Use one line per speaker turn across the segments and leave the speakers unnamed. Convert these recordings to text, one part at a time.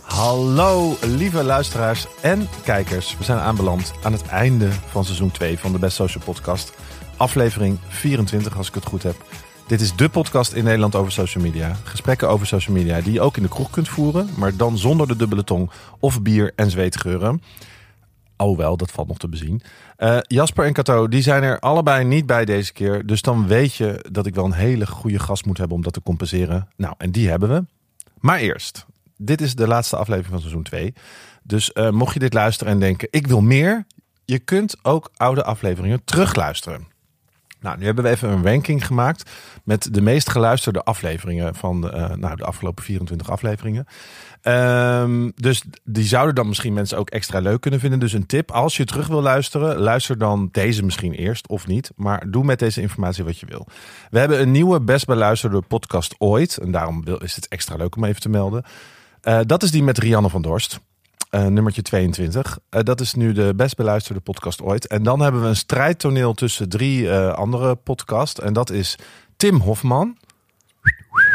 Hallo lieve luisteraars en kijkers. We zijn aanbeland aan het einde van seizoen 2 van de Best Social Podcast. Aflevering 24 als ik het goed heb. Dit is de podcast in Nederland over social media. Gesprekken over social media die je ook in de kroeg kunt voeren, maar dan zonder de dubbele tong of bier en zweetgeuren. Alhoewel, dat valt nog te bezien. Eh, Jasper en Cato, die zijn er allebei niet bij deze keer. Dus dan weet je dat ik wel een hele goede gast moet hebben om dat te compenseren. Nou, en die hebben we. Maar eerst, dit is de laatste aflevering van seizoen 2. Dus eh, mocht je dit luisteren en denken, ik wil meer. Je kunt ook oude afleveringen terugluisteren. Nou, nu hebben we even een ranking gemaakt met de meest geluisterde afleveringen van de, eh, nou, de afgelopen 24 afleveringen. Ehm, dus die zouden dan misschien mensen ook extra leuk kunnen vinden. Dus een tip, als je terug wil luisteren, luister dan deze misschien eerst of niet. Maar doe met deze informatie wat je wil. We hebben een nieuwe best beluisterde podcast ooit. En daarom wil- is het extra leuk om even te melden. Eh, dat is die met Rianne van Dorst. Eh, nummertje 22. Eh, dat is nu de best beluisterde podcast ooit. En dan hebben we een strijdtoneel tussen drie eh, andere podcasts. En dat is Tim Hofman.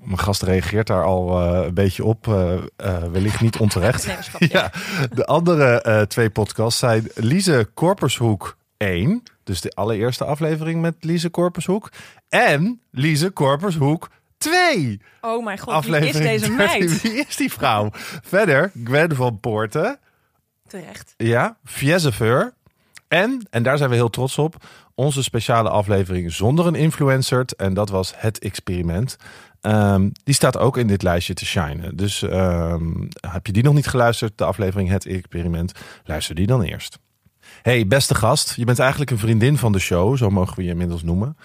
Mijn gast reageert daar al eh, een beetje op. eh, eh, wellicht niet onterecht.
Nee, schat,
Ja, de andere eh, twee podcasts zijn Lise Korpershoek 1. Dus de allereerste aflevering met Lise Korpershoek. En Lise Korpershoek 2.
Oh mijn god, wie is
aflevering 13.
deze meid?
Wie is die vrouw? Verder Gwen van Poorten.
Terecht.
Ja, Fiezeveur. En, en daar zijn we heel trots op, onze speciale aflevering zonder een influencer. En dat was Het Experiment. Ehm, die staat ook in dit lijstje te shinen. Dus ehm, heb je die nog niet geluisterd, de aflevering Het Experiment, luister die dan eerst. Hey, beste gast, je bent eigenlijk een vriendin van de show, zo mogen we je inmiddels noemen.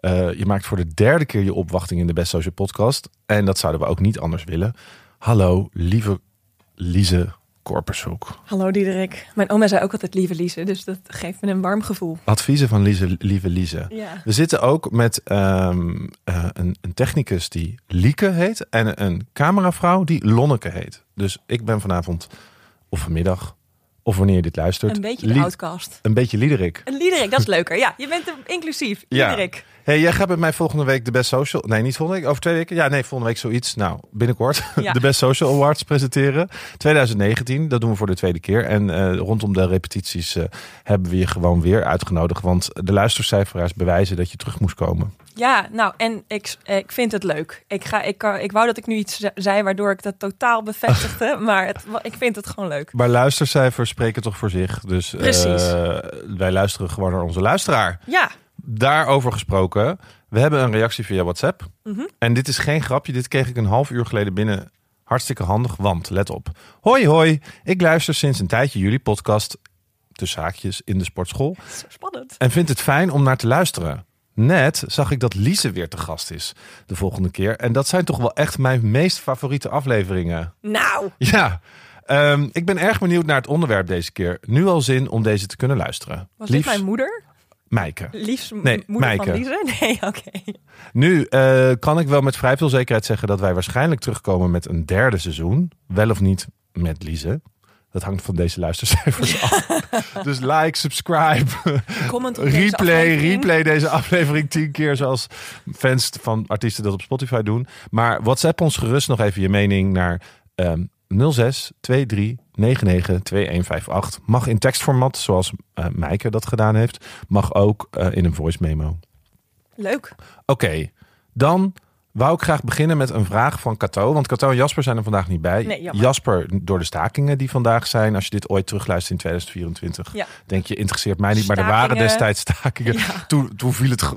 Eh, je maakt voor de derde keer je opwachting in de Best Social Podcast. En dat zouden we ook niet anders willen. Hallo, lieve Lize Korpershoek.
Hallo Diederik. Mijn oma zei ook altijd lieve Lise, dus dat geeft me een warm gevoel.
Adviezen van Lize, lieve Lize.
Ja.
We zitten ook met ehm, eh, een, een technicus die Lieke heet en een cameravrouw die Lonneke heet. Dus ik ben vanavond of vanmiddag of wanneer je dit luistert.
Een beetje de
Lie-
outcast.
Een beetje Liederik.
Een Liederik, dat is leuker. Ja, je bent er inclusief.
Ja.
Liederik.
hey, jij gaat met mij volgende week de Best Social... Nee, niet volgende week. Over twee weken. Ja, nee, volgende week zoiets. Nou, binnenkort
Ja.
de Best Social Awards presenteren. 2019, dat doen we voor de tweede keer. En eh, rondom de repetities eh, hebben we je gewoon weer uitgenodigd. Want de luistercijferaars bewijzen dat je terug moest komen.
Ja, nou, en ik, eh, ik vind het leuk. Ik, ga, ik, kan- ik wou dat ik nu iets ze- zei waardoor ik dat totaal bevestigde, maar het, wa- ik vind het gewoon leuk.
Maar luistercijfers spreken toch voor zich. Dus eh,
Precies.
wij luisteren gewoon naar onze luisteraar.
Ja,
Daarover gesproken, we hebben een reactie via WhatsApp.
Mhm.
En dit is geen grapje, dit kreeg ik een half uur geleden binnen. Hartstikke handig, want let op. Hoi, hoi, ik luister sinds een tijdje jullie podcast, tussen haakjes, in de sportschool.
het is zo spannend.
En vind het fijn om naar te luisteren. Net zag ik dat Lise weer te gast is de volgende keer. En dat zijn toch wel echt mijn meest favoriete afleveringen.
Nou,
Ja, ehm, ik ben erg benieuwd naar het onderwerp deze keer. Nu al zin om deze te kunnen luisteren.
was dit
Liefs,
mijn moeder?
Meike.
Liefst m-
Nee,
moeder
Maaike.
van Lise? Nee, oké.
Nu eh, kan ik wel met vrij veel zekerheid zeggen dat wij waarschijnlijk terugkomen met een derde seizoen. Wel of niet met Lize. Dat hangt van deze luistercijfers af. Dus like, subscribe,
Comment op deze
replay,
aflevering.
replay deze aflevering tien keer. Zoals fans van artiesten dat op Spotify doen. Maar WhatsApp ons gerust nog even je mening naar ehm 06 23 99 2158. Mag in tekstformat, zoals eh Maaike dat gedaan heeft. Mag ook eh, in een voice memo.
Leuk.
Oké, dan wou ik graag beginnen met een vraag van Cato. Want Cato en Jasper zijn er vandaag niet bij.
Nee, jammer.
Jasper, door de stakingen die vandaag zijn. Als je dit ooit terugluistert in 2024,
Ja.
denk je, interesseert mij niet. Maar er waren
Stakingen.
destijds stakingen. Toen, toen viel het, ge-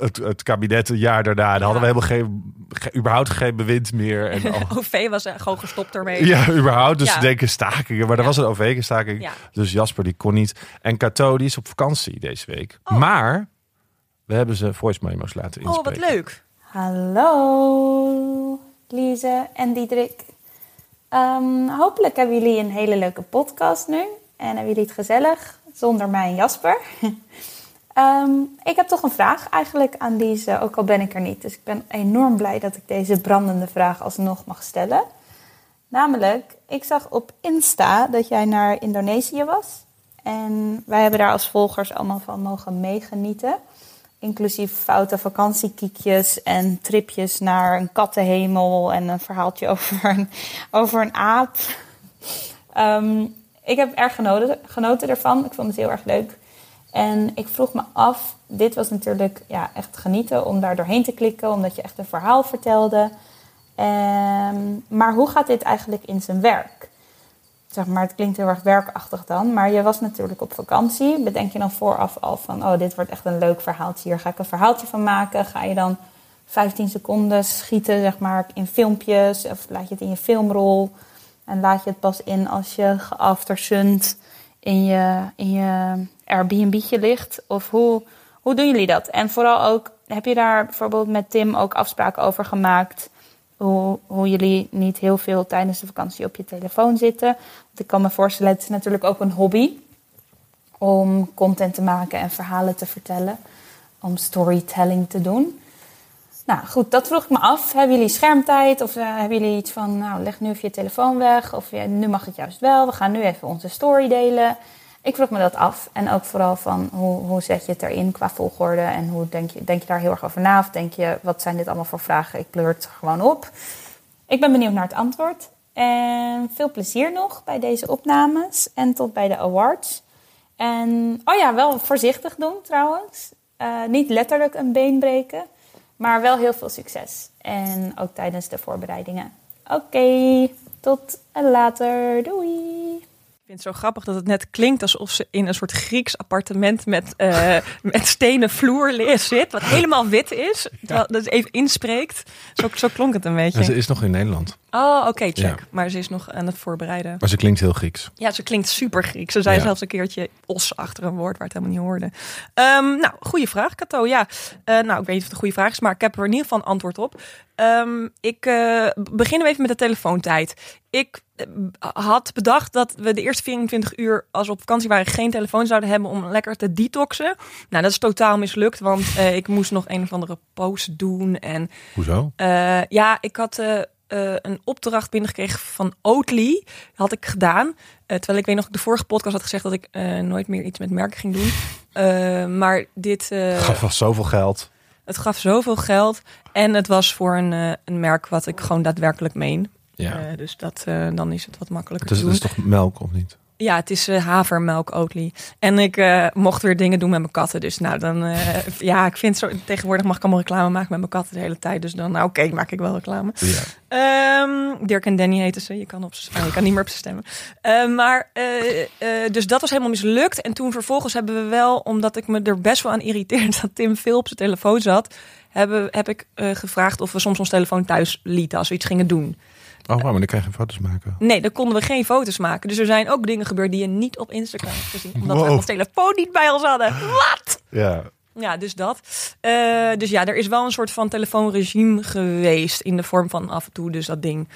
het, het kabinet een jaar daarna. En hadden we helemaal geen, ge- überhaupt geen bewind meer. En al-
OV was eh, gewoon gestopt ermee.
ja, überhaupt. Dus
Ja.
ze denken stakingen. Maar er
Ja.
was een OV-staking.
Ja.
Dus Jasper die kon niet. En Cato die is op vakantie deze week.
Oh.
Maar we hebben ze voice memo's laten
Oh,
inspreken.
wat leuk.
Hallo, Lise en Diederik. Ehm, hopelijk hebben jullie een hele leuke podcast nu. En hebben jullie het gezellig zonder mij en Jasper. Ehm, ik heb toch een vraag eigenlijk aan Lise, ook al ben ik er niet. Dus ik ben enorm blij dat ik deze brandende vraag alsnog mag stellen. Namelijk, ik zag op Insta dat jij naar Indonesië was. En wij hebben daar als volgers allemaal van mogen meegenieten. Inclusief foute vakantiekiekjes en tripjes naar een kattenhemel en een verhaaltje over een, over een aap. Ehm, ik heb erg genoten, genoten ervan. Ik vond het heel erg leuk. En ik vroeg me af, dit was natuurlijk ja, echt genieten om daar doorheen te klikken, omdat je echt een verhaal vertelde. Ehm, maar hoe gaat dit eigenlijk in zijn werk? zeg maar, het klinkt heel erg werkachtig dan. Maar je was natuurlijk op vakantie. Bedenk je dan vooraf al van, oh, dit wordt echt een leuk verhaaltje. Hier ga ik een verhaaltje van maken. Ga je dan 15 seconden schieten, zeg maar, in filmpjes? Of laat je het in je filmrol? En laat je het pas in als je geaftersunt in je, in je Airbnb'tje ligt? Of hoe, hoe doen jullie dat? En vooral ook, heb je daar bijvoorbeeld met Tim ook afspraken over gemaakt? Hoe, hoe jullie niet heel veel tijdens de vakantie op je telefoon zitten. Want ik kan me voorstellen, het is natuurlijk ook een hobby om content te maken en verhalen te vertellen. Om storytelling te doen. Nou goed, dat vroeg ik me af. Hebben jullie schermtijd? Of eh, hebben jullie iets van, nou leg nu even je telefoon weg. Of ja, nu mag het juist wel. We gaan nu even onze story delen. Ik vroeg me dat af. En ook vooral van, hoe, hoe zet je het erin qua volgorde? En hoe denk je, denk je daar heel erg over na? Of denk je, wat zijn dit allemaal voor vragen? Ik pleur het gewoon op. Ik ben benieuwd naar het antwoord. En veel plezier nog bij deze opnames en tot bij de awards. En oh ja, wel voorzichtig doen trouwens. Eh, niet letterlijk een been breken, maar wel heel veel succes. En ook tijdens de voorbereidingen. Oké, tot later. Doei.
Ik vind het zo grappig dat het net klinkt alsof ze in een soort Grieks appartement met, eh, met stenen vloer li- zit, wat helemaal wit is. Terwijl dat even inspreekt. Zo, zo klonk het een
En ze
beetje.
is nog in Nederland,
Oh, oké, check.
Ja.
Maar ze is nog aan het voorbereiden.
maar ze klinkt heel Grieks.
Ja, ze klinkt super Grieks. Ze zei
Ja.
zelfs een keertje os achter een woord waar het helemaal niet hoorde. Ehm, nou, goede vraag, Kato. Ja, Eh, nou, ik weet niet of het een goede vraag is, maar ik heb er in ieder geval een antwoord op. Ehm, ik eh, b- beginnen we even met de telefoontijd. Ik eh, b- had bedacht dat we de eerste 24 uur, als we op vakantie waren, geen telefoon zouden hebben om lekker te detoxen. Nou, dat is totaal mislukt, want eh, ik moest nog een of andere post doen en
Hoezo?
eh, ja, ik had eh, eh, een opdracht binnengekregen van Oatly. Dat had ik gedaan. Eh, terwijl ik weet nog, de vorige podcast had gezegd dat ik eh, nooit meer iets met merken ging doen. Eh, maar dit, eh,
Gaf was zoveel geld.
het gaf zoveel geld. En het was voor een, eh, een merk wat ik gewoon daadwerkelijk meen.
Ja.
Eh, dus dat, eh, dan is het wat makkelijker
het, is,
te
het
doen.
is toch melk of niet?
Ja, het is eh, havermelk, Oatly. En ik eh, mocht weer dingen doen met mijn katten. Dus nou, dan... eh, ja, ik vind zo... Tegenwoordig mag ik allemaal reclame maken met mijn katten de hele tijd. Dus dan, nou oké, maak ik wel reclame.
Ja.
Ehm, Dirk en Danny heten ze. Je kan, op, ze- ah, je kan niet meer op ze stemmen. Ehm, maar, eh, eh, dus dat was helemaal mislukt. En toen vervolgens hebben we wel, omdat ik me er best wel aan irriteerde dat Tim veel op zijn telefoon zat, hebben, heb ik eh, gevraagd of we soms ons telefoon thuis lieten als we iets gingen doen.
Oh, wauw, maar dan kan je geen foto's maken.
Nee, dan konden we geen foto's maken. Dus er zijn ook dingen gebeurd die je niet op Instagram hebt gezien, omdat we
Wow.
ons telefoon niet bij ons hadden. Wat?
Ja.
Ja, dus dat. Eh, dus ja, er is wel een soort van telefoonregime geweest in de vorm van af en toe dus dat ding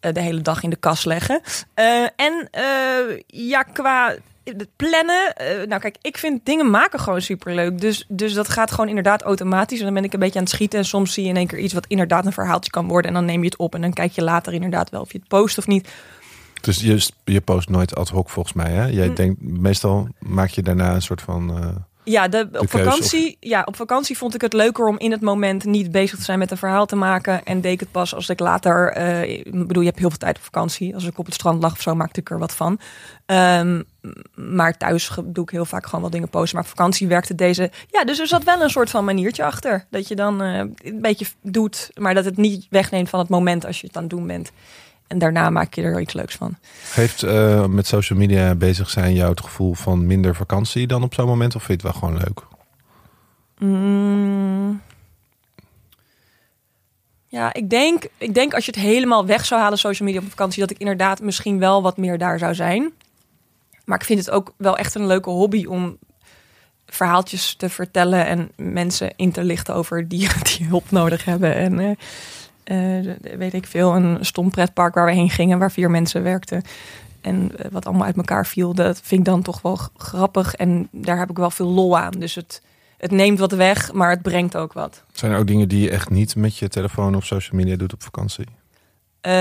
eh, de hele dag in de kast leggen. Eh, en eh, ja, qua het plannen. eh, nou kijk, ik vind dingen maken gewoon superleuk. Dus, dus dat gaat gewoon inderdaad automatisch. En dan ben ik een beetje aan het schieten. En soms zie je in één keer iets wat inderdaad een verhaaltje kan worden. En dan neem je het op. En dan kijk je later inderdaad wel of je het post of niet.
Dus je, je post nooit ad hoc volgens mij, hè?
Hm.
Jij denkt, meestal maak je daarna een soort van... eh,
Ja, de,
keuze
op, vakantie, ja, op vakantie vond ik het leuker om in het moment niet bezig te zijn met een verhaal te maken. En deed ik het pas als ik later. eh, ik bedoel, je hebt heel veel tijd op vakantie. Als ik op het strand lag of zo, maakte ik er wat van. Ehm, maar thuis ge- doe ik heel vaak gewoon wat dingen posten. Maar op vakantie werkte deze. Ja, dus er zat wel een soort van maniertje achter. Dat je dan eh, een beetje doet, maar dat het niet wegneemt van het moment als je het aan het doen bent. En daarna maak je er iets leuks van.
Geeft eh, met social media bezig zijn jou het gevoel van minder vakantie dan op zo'n moment? Of vind je het wel gewoon leuk?
Mm. Ja, ik denk, ik denk als je het helemaal weg zou halen, social media op vakantie, dat ik inderdaad misschien wel wat meer daar zou zijn. Maar ik vind het ook wel echt een leuke hobby om verhaaltjes te vertellen en mensen in te lichten over dieren die hulp nodig hebben. En eh, eh, de- de- weet ik veel, een stom pretpark waar we heen gingen, waar vier mensen werkten. En eh, wat allemaal uit elkaar viel, dat vind ik dan toch wel g- grappig. En daar heb ik wel veel lol aan. Dus het, het neemt wat weg, maar het brengt ook wat.
Zijn er ook dingen die je echt niet met je telefoon of social media doet op vakantie?
Eh,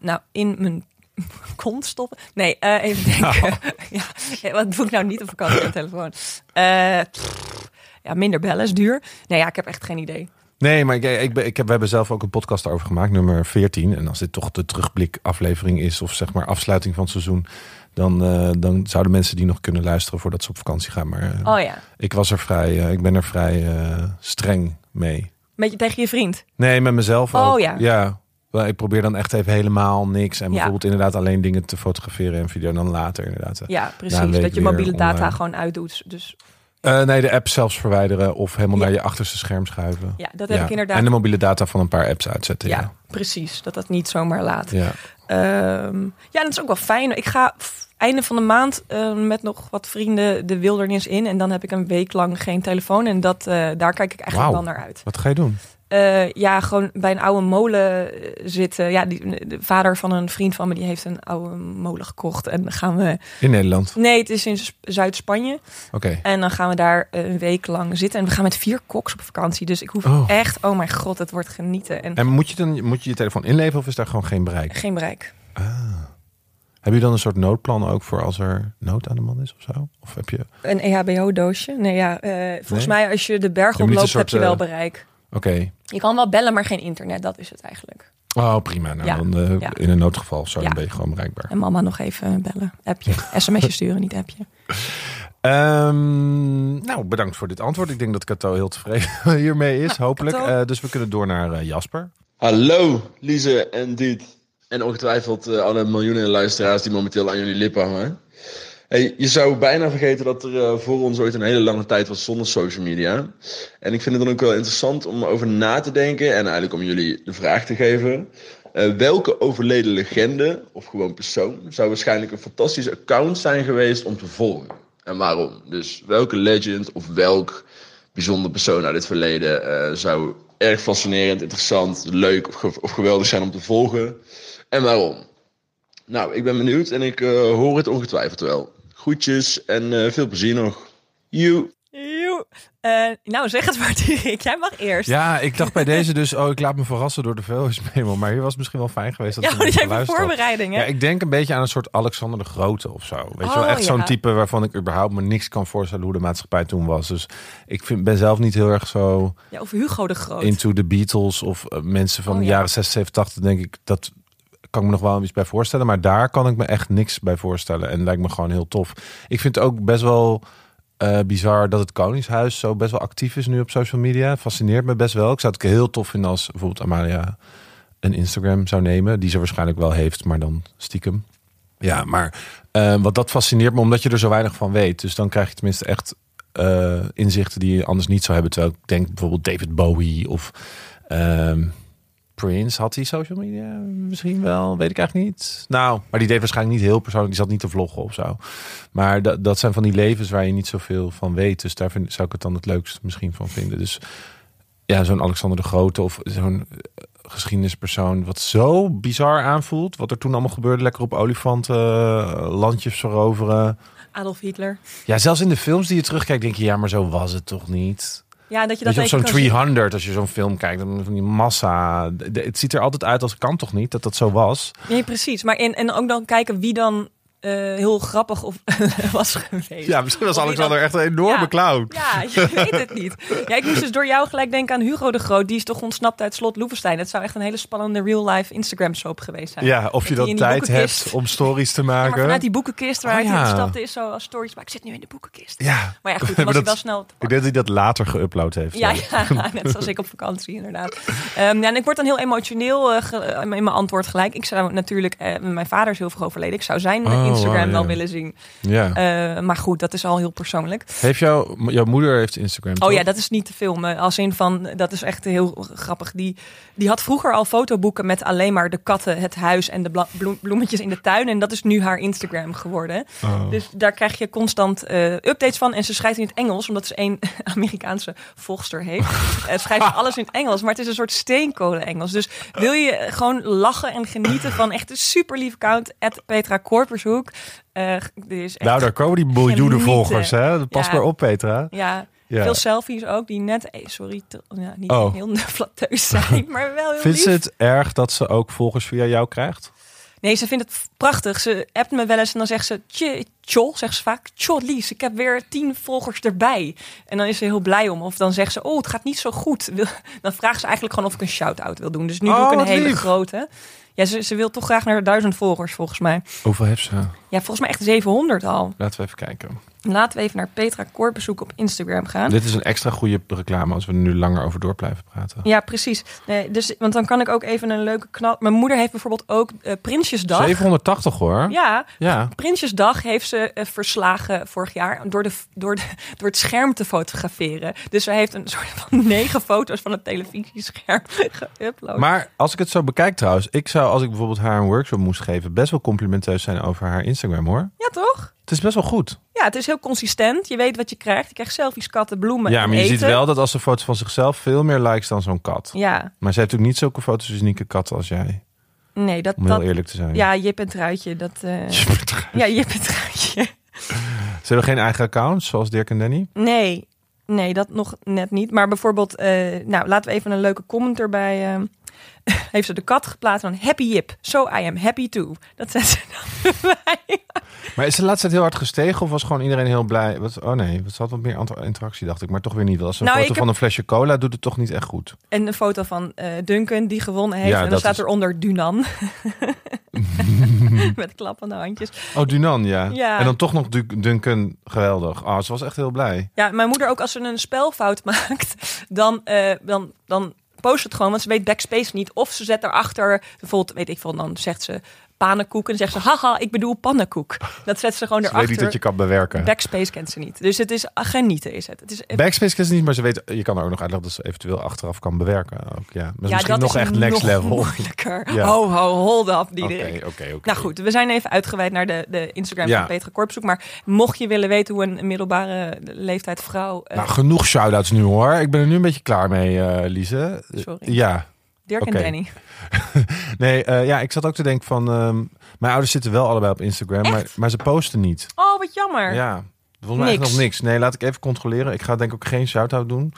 nou, in mijn kont stoppen. Nee, eh, even denken. ja, wat doe ik nou niet op vakantie met telefoon? Eh, pff, Ja, minder bellen is duur. Nee, ja, ik heb echt geen idee.
Nee, maar ik, ik, ben- ik heb, we hebben zelf ook een podcast over gemaakt, nummer 14. En als dit toch de terugblikaflevering is, of zeg maar afsluiting van het seizoen, dan, eh, dan zouden mensen die nog kunnen luisteren voordat ze op vakantie gaan. Maar eh,
Oh ja,
ik was er vrij, eh, ik ben er vrij eh, streng mee.
beetje tegen je vriend.
Nee, met mezelf
Oh,
ook.
ja.
ja. Wel, Ik probeer dan echt even helemaal niks. En
Ja.
bijvoorbeeld inderdaad alleen dingen te fotograferen en video. En dan later inderdaad. eh.
Ja,
Na een
precies.
week
Dat je
weer
mobiele data
online.
gewoon uitdoet. Dus
Eh, nee, de app zelfs verwijderen of helemaal
Ja.
naar je achterste scherm schuiven.
ja, dat heb
Ja.
ik inderdaad.
En de mobiele data van een paar apps uitzetten.
ja, precies. Dat dat niet zomaar laat.
ja.
Ehm, ja, dat is ook wel fijn. Ik ga f- einde van de maand eh, met nog wat vrienden de wildernis in. En dan heb ik een week lang geen telefoon. En dat, eh, daar kijk ik
Wauw.
eigenlijk wel naar uit.
Wat ga je doen?
Eh, ja, gewoon bij een oude molen eh, zitten. Ja, die, de vader van een vriend van me die heeft een oude molen gekocht. En dan gaan we.
In Nederland.
Nee, het is in Sp- Zuid-Spanje.
Oké.
En dan gaan we daar eh, een week lang zitten. En we gaan met vier koks op vakantie. Dus ik hoef
Oh.
echt, oh mijn god, het wordt genieten. En
En moet je dan moet je, je telefoon inleveren of is daar gewoon geen bereik?
geen bereik.
Heb je dan een soort noodplan ook voor als er nood aan de man is of zo? Of heb je. Oké,
Een E EHBO-doosje? Nee, ja. eh, volgens
Nee.
mij als je de berg
Je moet niet
oploopt,
een soort,
heb je wel
eh,
bereik. Je kan wel bellen, maar geen internet. Dat is het eigenlijk.
oh prima. Nou,
Ja.
dan, eh,
Ja.
In een noodgeval zo
Ja.
ben je gewoon bereikbaar.
En mama nog even bellen. Appje. SMS'je sturen, niet appje.
Ehm, nou, bedankt voor dit antwoord. Ik denk dat Cato heel tevreden hiermee is, hopelijk.
Cato.
Eh, dus we kunnen door naar eh, Jasper.
Hallo, Lise en Diet. En ongetwijfeld eh, alle miljoenen luisteraars die momenteel aan jullie lippen hangen. Hey, je zou bijna vergeten dat er eh, voor ons ooit een hele lange tijd was zonder social media. En ik vind het dan ook wel interessant om over na te denken en eigenlijk om jullie de vraag te geven. eh, welke overleden legende of gewoon persoon zou waarschijnlijk een fantastisch account zijn geweest om te volgen? En waarom? Dus welke legend of welk bijzonder persoon uit het verleden. eh, zou erg fascinerend, interessant, leuk of, ge- of geweldig zijn om te volgen. En waarom? Nou, ik ben benieuwd en ik eh, hoor het ongetwijfeld wel. Groetjes en eh, veel plezier nog. You.
Joe. Eh, nou, zeg het maar, Dirk. Jij mag eerst.
Ja, ik dacht bij deze dus, oh, ik laat me verrassen door de voice memo. Maar hier was het misschien wel fijn geweest dat
Ja,
we
want
even
jij hebt een
geluisterd had.
voorbereiding, hè?
Ja, ik denk een beetje aan een soort Alexander de Grote of zo. Weet je wel,
Oh,
echt zo'n
ja.
type waarvan ik überhaupt me niks kan voorstellen hoe de maatschappij toen was. Dus ik vind, ben zelf niet heel erg zo
Ja, of Hugo de Groot.
into the Beatles of eh, mensen van
Oh,
de
ja.
jaren 60, 70, 80. Denk ik, dat kan ik me nog wel iets bij voorstellen. Maar daar kan ik me echt niks bij voorstellen. En lijkt me gewoon heel tof. Ik vind het ook best wel eh, bizar dat het Koningshuis zo best wel actief is nu op social media. Fascineert me best wel. Ik zou het ook heel tof vinden als bijvoorbeeld Amalia een Instagram zou nemen. Die ze waarschijnlijk wel heeft, maar dan stiekem. Ja, maar eh, wat dat fascineert me, omdat je er zo weinig van weet. Dus dan krijg je tenminste echt eh, inzichten die je anders niet zou hebben. Terwijl ik denk bijvoorbeeld David Bowie of ehm, Prince. Had hij social media misschien wel? Weet ik eigenlijk niet. Nou, maar die deed waarschijnlijk niet heel persoonlijk. Die zat niet te vloggen of zo. Maar dat, dat zijn van die levens waar je niet zoveel van weet. Dus daar vind, zou ik het dan het leukst misschien van vinden. Dus ja, zo'n Alexander de Grote of zo'n eh, geschiedenispersoon... wat zo bizar aanvoelt. Wat er toen allemaal gebeurde. Lekker op olifanten, eh, landjes veroveren.
Adolf Hitler.
Ja, zelfs in de films die je terugkijkt denk je... ja, maar zo was het toch niet?
Ja, dat je
Weet
dat
je, op
even
zo'n
kan zien.
300, als je zo'n film kijkt, dan van die massa. De- de- het ziet er altijd uit als kan toch niet dat dat zo was.
Nee, precies. Maar en, en ook dan kijken wie dan eh, heel grappig of was geweest.
misschien
was Of die Alexander dan-
echt een
enorme Ja.
clown.
Ja, je weet het niet. Ja, ik moest dus door jou gelijk denken aan Hugo de Groot. Die is toch ontsnapt uit slot Loevestein. Het zou echt een hele spannende real-life Instagram-soap geweest zijn.
Ja, of je
Die in
dan
die
tijd
boekenkist.
hebt om stories te
Ja, maar
maken.
vanuit die boekenkist waar
Oh,
hij
ja.
instapte is zo als stories. Maar ik zit nu in de boekenkist.
Ja.
Maar ja,
We
goed,
hebben
dan was hij
dat-
wel snel te
Ik
pakken.
denk dat hij dat later geüpload heeft.
Ja, ja, net zoals ik op vakantie inderdaad. Ehm, ja, en ik word dan heel emotioneel eh, ge- in mijn antwoord gelijk. Ik zou natuurlijk, eh, mijn vader is heel vroeg overleden. Ik zou zijn
Oh,
Instagram
wauw,
wel
ja.
willen zien.
Ja.
Eh, maar goed, dat is al heel persoonlijk.
heeft jouw jouw moeder heeft Instagram?
Oh
toch?
ja, dat is niet te filmen. Als in van, dat is echt heel grappig. Die, die had vroeger al fotoboeken met alleen maar de katten, het huis en de bla- bloem- bloemetjes in de tuin. En dat is nu haar Instagram geworden.
Oh.
Dus daar krijg je constant eh, updates van. En ze schrijft in het Engels, omdat ze één Amerikaanse volgster heeft. Het schrijft ze alles in het Engels, maar het is een soort steenkolen-Engels. Dus wil je gewoon lachen en genieten van echt een super lief account, Petra Korpershoek. Eh, die is echt
nou, daar komen die miljoenen
Genieten.
volgers. Hè? Pas
Ja.
maar op, Petra.
ja,
Ja.
veel selfies ook die net, eh, sorry, te- ja, niet
Oh.
heel flatteus zijn, maar wel heel
Vindt ze
lief.
het erg dat ze ook volgers via jou krijgt?
Nee, ze vindt het prachtig. Ze appt me wel eens en dan zegt ze... "Tje, Tjol, zegt ze vaak. Tjol, Lies, ik heb weer tien volgers erbij. En dan is ze heel blij om. Of dan zegt ze... Oh, het gaat niet zo goed. Wil- Dan vraagt ze eigenlijk gewoon of ik een shout-out wil doen. Dus nu
Oh,
doe ik een
wat
hele
lief.
grote. Ja, ze, ze wil toch graag naar duizend volgers, volgens mij.
Hoeveel heeft ze?
Ja, volgens mij echt 700 al.
Laten we even kijken.
Laten we even naar Petra Kort bezoeken op Instagram gaan.
Dit is een extra goede reclame als we er nu langer over door blijven praten.
Ja, precies. Nee, dus, want dan kan ik ook even een leuke knal... Mijn moeder heeft bijvoorbeeld ook eh, Prinsjesdag.
780 hoor.
Ja,
Ja.
Prinsjesdag heeft ze eh, verslagen vorig jaar door, de, door, de, door het scherm te fotograferen. Dus ze heeft een soort van negen foto's van het televisiescherm geüpload.
Maar als ik het zo bekijk trouwens, ik zou als ik bijvoorbeeld haar een workshop moest geven, best wel complimenteus zijn over haar Instagram hoor.
Ja, toch?
Het is best wel goed.
Ja, het is heel consistent. Je weet wat je krijgt. Je krijgt selfies, katten, bloemen
ja,
en
maar je ziet
eten.
wel dat als ze foto's van zichzelf veel meer likes dan zo'n kat.
Ja,
Maar ze heeft ook niet zulke foto's van unieke katten als jij.
nee, dat...
Om heel
dat
eerlijk te zijn.
ja, Jip en Truitje, dat... eh, ja, Jip en Truitje.
Ze hebben geen eigen accounts zoals Dirk en Danny.
Nee, nee, dat nog net niet. Maar bijvoorbeeld, eh, nou, laten we even een leuke comment erbij. eh, heeft ze de kat geplaatst van Happy Jip. So I am happy too. Dat zet ze dan bij.
Maar is de laatste tijd heel hard gestegen of was gewoon iedereen heel blij? Wat, oh nee, wat had wat meer ant- interactie dacht ik, maar toch weer niet. Als een
Nou,
foto
ik
van een flesje cola doet het toch niet echt goed.
En een foto van eh, Duncan die gewonnen heeft.
Ja,
en dan
dat
staat
is-
eronder Dunan. Met klappende handjes.
Oh, Dunan, ja.
Ja.
En dan toch nog Du- Duncan, geweldig. Oh, ze was echt heel blij.
Ja, mijn moeder ook als ze een spelfout maakt, dan, eh, dan, dan post ze het gewoon, want ze weet backspace niet. Of ze zet erachter, bijvoorbeeld, weet ik veel, dan zegt ze pannenkoek en dan zegt ze, haha, ik bedoel pannenkoek. Dat zet ze gewoon
Ze weet niet dat je
erachter.
kan bewerken.
Backspace kent ze niet. Dus het is ah, genieten is het. Het is
Backspace kan ze niet, maar ze weet, je kan er ook nog uitleggen dat ze eventueel achteraf kan bewerken. Ook, ja. Maar
ja,
misschien
dat
nog
is
echt next
nog
level. Oké,
moeilijker.
Ja.
Ho, ho, hold up, die
oké, oké.
Nou goed, we zijn even uitgeweid naar de, de Instagram
Ja.
van Petra Korpzoek. Maar mocht je willen weten hoe een middelbare leeftijd vrouw... eh,
Nou, genoeg shout-outs nu hoor. Ik ben er nu een beetje klaar mee, eh, Lise.
Sorry.
Ja.
Dirk
oké.
en Danny.
Nee, eh, ja, ik zat ook te denken van... ehm, mijn ouders zitten wel allebei op Instagram, maar,
Echt?
maar ze posten niet.
Oh, wat jammer.
Ja, volgens mij
Niks.
echt nog niks. Nee, laat ik even controleren. Ik ga denk ik ook geen shout-out doen.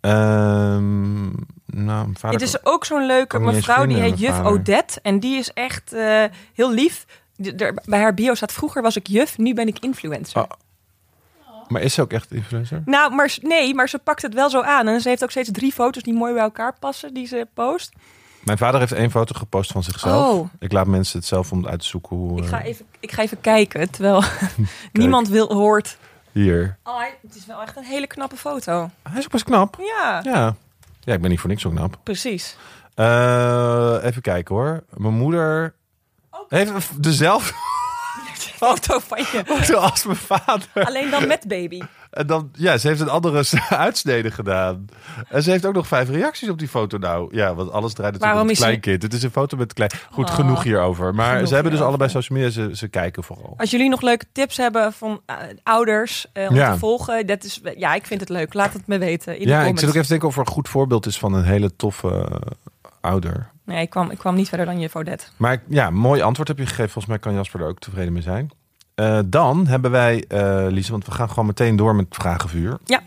Ehm, nou, mijn vader...
Het is ook zo'n leuke
kan me niet eens
mevrouw, die
vinden,
heet
mijn
juf
vader.
Odette. En die is echt eh, heel lief. D- er- bij haar bio staat vroeger was ik juf, nu ben ik influencer.
Oh. Maar is ze ook echt influencer?
Nou, maar, s- nee, maar ze pakt het wel zo aan. En ze heeft ook steeds drie foto's die mooi bij elkaar passen, die ze post.
Mijn vader heeft één foto gepost van zichzelf.
Oh.
Ik laat mensen het zelf om het uit te zoeken hoe...
Ik
eh,
ga even, ik ga even kijken, terwijl niemand wil, hoort.
Hier.
Oh, hij- het is wel echt een hele knappe foto.
Hij is ook best knap.
Ja,
Ja. Ja, ik ben niet voor niks zo knap.
precies.
Eh, even kijken hoor. Mijn moeder heeft dezelfde Oh.
Foto van je.
foto als mijn vader.
Alleen dan met baby.
En dan, ja, ze heeft een andere uitsnede gedaan. En ze heeft ook nog vijf reacties op die foto. Nou, ja, want alles draait natuurlijk
Waarom
om het
is ze-
kleinkind. Het is een foto met het klein. Goed,
Oh,
genoeg hierover. Maar
genoeg
ze hebben dus
hierover.
allebei social media. Ze, ze kijken vooral.
Als jullie nog leuke tips hebben van eh, ouders eh, om
Ja.
te volgen, dat is, ja, ik vind het leuk. Laat het me weten. In de
Ja, ik
comments.
zit ook even te denken of er een goed voorbeeld is van een hele toffe eh, ouder.
Nee, ik kwam, ik kwam niet verder dan je Odette.
Maar ik- ja, mooi antwoord heb je gegeven. Volgens mij kan Jasper er ook tevreden mee zijn. Eh, dan hebben wij, eh Lies, want we gaan gewoon meteen door met vragenvuur.
Ja.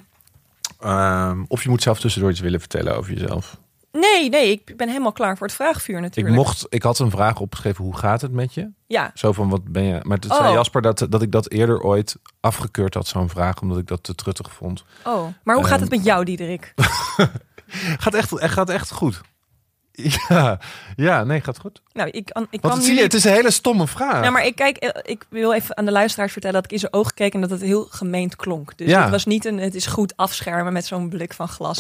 Ehm, of je moet zelf tussendoor iets willen vertellen over jezelf.
Nee, nee, ik ben helemaal klaar voor het vraagvuur
Ik,
natuurlijk.
mocht, ik had een vraag opgeschreven, hoe gaat het met je?
Ja,
Zo van, wat ben je... Maar toen
Oh.
zei Jasper dat, dat ik dat eerder ooit afgekeurd had, zo'n vraag. Omdat ik dat te truttig vond.
oh. Maar hoe gaat het
Ehm,
met jou, Diederik?
Gaat echt, gaat echt goed. Ja, ja, nee, gaat goed.
nou, ik, kan-
Want
ik kan
het, zie je,
jullie-
het is een hele stomme vraag.
Nou, maar ik, kijk, eh, ik wil even aan de luisteraars vertellen dat ik in zijn oog keek en dat het heel gemeend klonk. Dus
Ja.
het was niet een het is goed afschermen met zo'n blik van glas.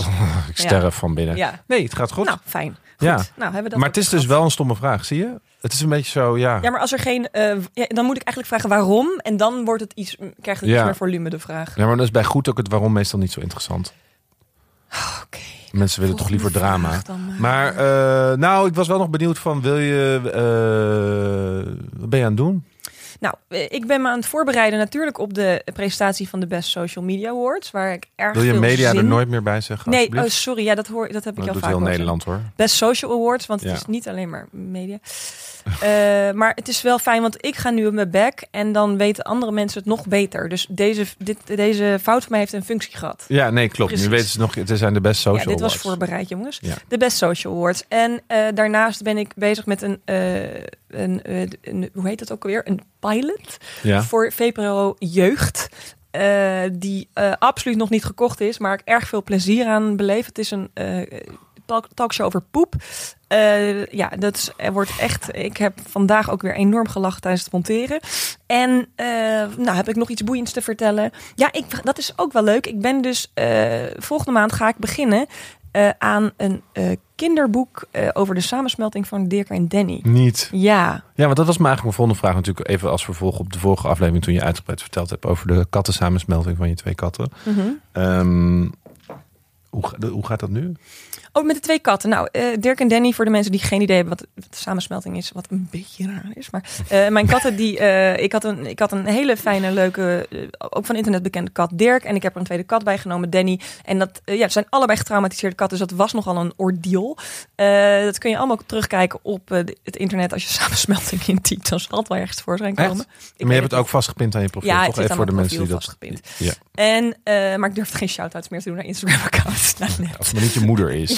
ik sterf van binnen.
Ja.
Nee, het gaat Oh, goed.
Nou, fijn. Goed.
Ja.
Nou, hebben we dat
maar
ook
het is dus
gehad.
wel een stomme vraag, zie je? Het is een beetje zo, ja.
Ja, maar als er geen... eh, w- ja, dan moet ik eigenlijk vragen waarom. En dan wordt het iets, mm, krijgt het iets
Ja.
meer volume, de vraag.
Ja, maar dat is bij goed ook het waarom meestal niet zo interessant.
Oké.
Mensen willen toch liever drama.
vraag dan maar.
Maar eh, nou, ik was wel nog benieuwd van, wil je... eh, wat ben je aan het doen?
Nou, eh, ik ben me aan het voorbereiden natuurlijk op de presentatie van de Best Social Media Awards. Waar ik erg
Wil je
veel
media
zin...
er nooit meer bij zeggen?
Nee, oh,
alsjeblieft?
sorry. Ja, dat, hoor, dat heb ik
dat
al
doet
vaak
heel
horen.
Nederland hoor.
Best Social Awards, want het
Ja.
is niet alleen maar media. Eh, maar het is wel fijn, want ik ga nu op mijn bek. En dan weten andere mensen het nog beter. Dus deze, dit, deze fout van mij heeft een functie gehad.
Ja, nee, klopt.
Precies.
Nu weten ze nog, het zijn de best social
ja, dit was
awards.
voorbereid, jongens.
Ja.
De Best Social Awards. En eh, daarnaast ben ik bezig met een, eh, een, eh, een- hoe heet dat ook alweer? Een pilot
Ja.
voor VPRO Jeugd. eh, die eh, absoluut nog niet gekocht is, maar ik erg veel plezier aan beleef. Het is een eh, talk- talkshow over poep. Eh, ja, dat is, er wordt echt. Ik heb vandaag ook weer enorm gelachen tijdens het monteren. En eh, nou heb ik nog iets boeiends te vertellen. Ja, ik, dat is ook wel leuk. Ik ben dus eh, volgende maand ga ik beginnen eh, aan een eh, kinderboek eh, over de samensmelting van Dirk en Danny.
Niet.
Ja,
Ja, want dat was maar eigenlijk mijn volgende vraag natuurlijk even als vervolg op de vorige aflevering toen je uitgebreid verteld hebt over de kattensamensmelting van je twee katten.
Mhm.
Ehm, hoe, ga- hoe gaat dat nu?
Oh, met de twee katten. Nou, eh, Dirk en Danny, voor de mensen die geen idee hebben wat, wat de samensmelting is, wat een beetje raar is. Maar eh, mijn katten, die, eh, ik, had een, ik had een hele fijne, leuke, eh, ook van internet bekende kat Dirk. En ik heb er een tweede kat bij genomen, Danny. En dat eh, ja, het zijn allebei getraumatiseerde katten, dus dat was nogal een ordeal. Eh, dat kun je allemaal terugkijken op eh, het internet als je samensmelting intypt. Dan zal het wel ergens voor zijn
Echt?
komen.
maar je
weet
hebt het ook vastgepind aan je profiel,
Ja, het
toch?
zit
Even
aan
voor de
mijn
mensen die dat...
profiel
Ja,
En, eh, maar ik durfde geen shout-outs meer te doen naar Instagram-accounts. Nou, net.
als het maar niet je moeder is.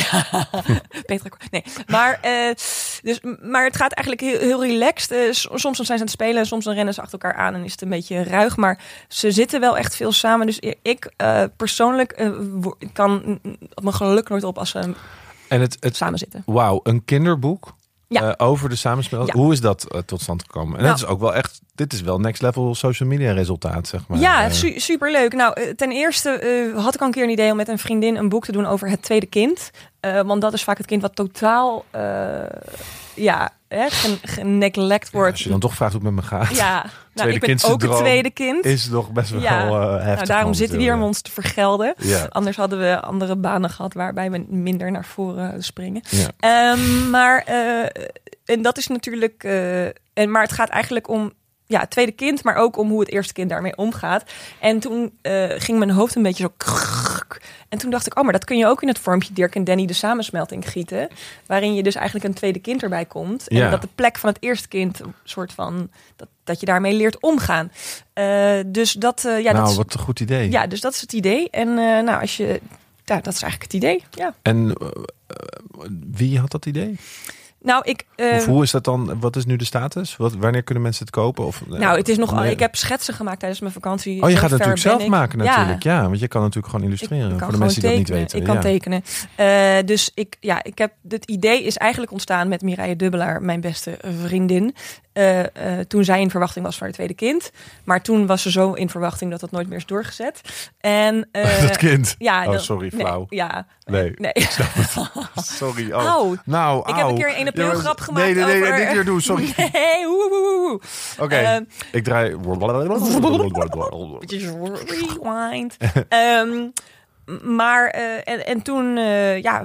Petra Kor- Nee, maar, eh, dus, maar het gaat eigenlijk heel, heel relaxed. Eh, s- soms dan zijn ze aan het spelen, en soms dan rennen ze achter elkaar aan en is het een beetje ruig. Maar ze zitten wel echt veel samen. Dus i- ik eh, persoonlijk eh, wo- ik kan mm, mm, mijn geluk nooit op als ze
En het, het,
samen zitten.
Wauw, een kinderboek
Ja.
eh, over de samensmelting.
Ja.
Hoe is dat eh, tot stand gekomen? En dat
Nou.
is ook wel echt, dit is wel next level social media resultaat, zeg maar.
ja,
Eh,
su- superleuk. Nou, eh, ten eerste eh, had ik al een keer een idee om met een vriendin een boek te doen over het tweede kind. Eh, want dat is vaak het kind wat totaal eh, ja, hè, gen- geneglect wordt.
als je dan toch vraagt hoe het met me gaat,
ja, nou,
Tweede
ik ben ook
kindsyndroom
het tweede kind.
is nog best wel
Ja.
eh, heftig.
Nou, daarom zitten we hier om
momenteel,
ons te vergelden.
Ja.
Anders hadden we andere banen gehad waarbij we minder naar voren springen.
Ja.
Ehm, maar eh, en dat is natuurlijk. eh, en, maar het gaat eigenlijk om ja, het tweede kind, maar ook om hoe het eerste kind daarmee omgaat. En toen eh, ging mijn hoofd een beetje zo. krrrk. En toen dacht ik, oh, maar dat kun je ook in het vormpje Dirk en Danny de samensmelting gieten. Waarin je dus eigenlijk een tweede kind erbij komt.
Ja.
En dat de plek van het eerste kind, een soort van, dat, dat je daarmee leert omgaan. Eh, dus dat, eh, ja,
nou,
dat is,
wat een goed idee.
ja, dus dat is het idee. En eh, nou, als je, ja, dat is eigenlijk het idee. Ja.
En eh, eh, wie had dat idee?
Nou, ik. eh,
of hoe is dat dan? Wat is nu de status? Wat, wanneer kunnen mensen het kopen? Of, eh,
Nou, het is nog.
wanneer-
Ik heb schetsen gemaakt tijdens mijn vakantie.
Oh, je
Zo
gaat het
ver
natuurlijk zelf
ben ik.
maken natuurlijk.
Ja.
Ja. want je kan natuurlijk gewoon
Ik
illustreren.
kan
voor de
gewoon
mensen die dat niet
tekenen.
weten.
Ik kan
ja.
tekenen. Eh, dus ik, ja, ik heb het idee is eigenlijk ontstaan met Mireille Dubbelaar, mijn beste vriendin. Eh, eh, toen zij in verwachting was van haar tweede kind. Maar toen was ze zo in verwachting dat dat nooit meer is doorgezet. En eh,
Dat kind.
ja,
oh,
dat-
sorry,
nee,
flauw.
ja,
Nee.
nee.
Sorry. Oh.
Au.
Nou,
Ik heb
au.
een keer een 1 april
Ja, maar-
grap gemaakt
Nee, nee, nee,
over-
nee, niet weer doen. Sorry.
Nee, hoe, hoe, hoe, hoe.
Oké,
Ehm,
ik draai...
Beetje zo rewind. Ehm, m- maar, eh, en, en toen, eh, ja,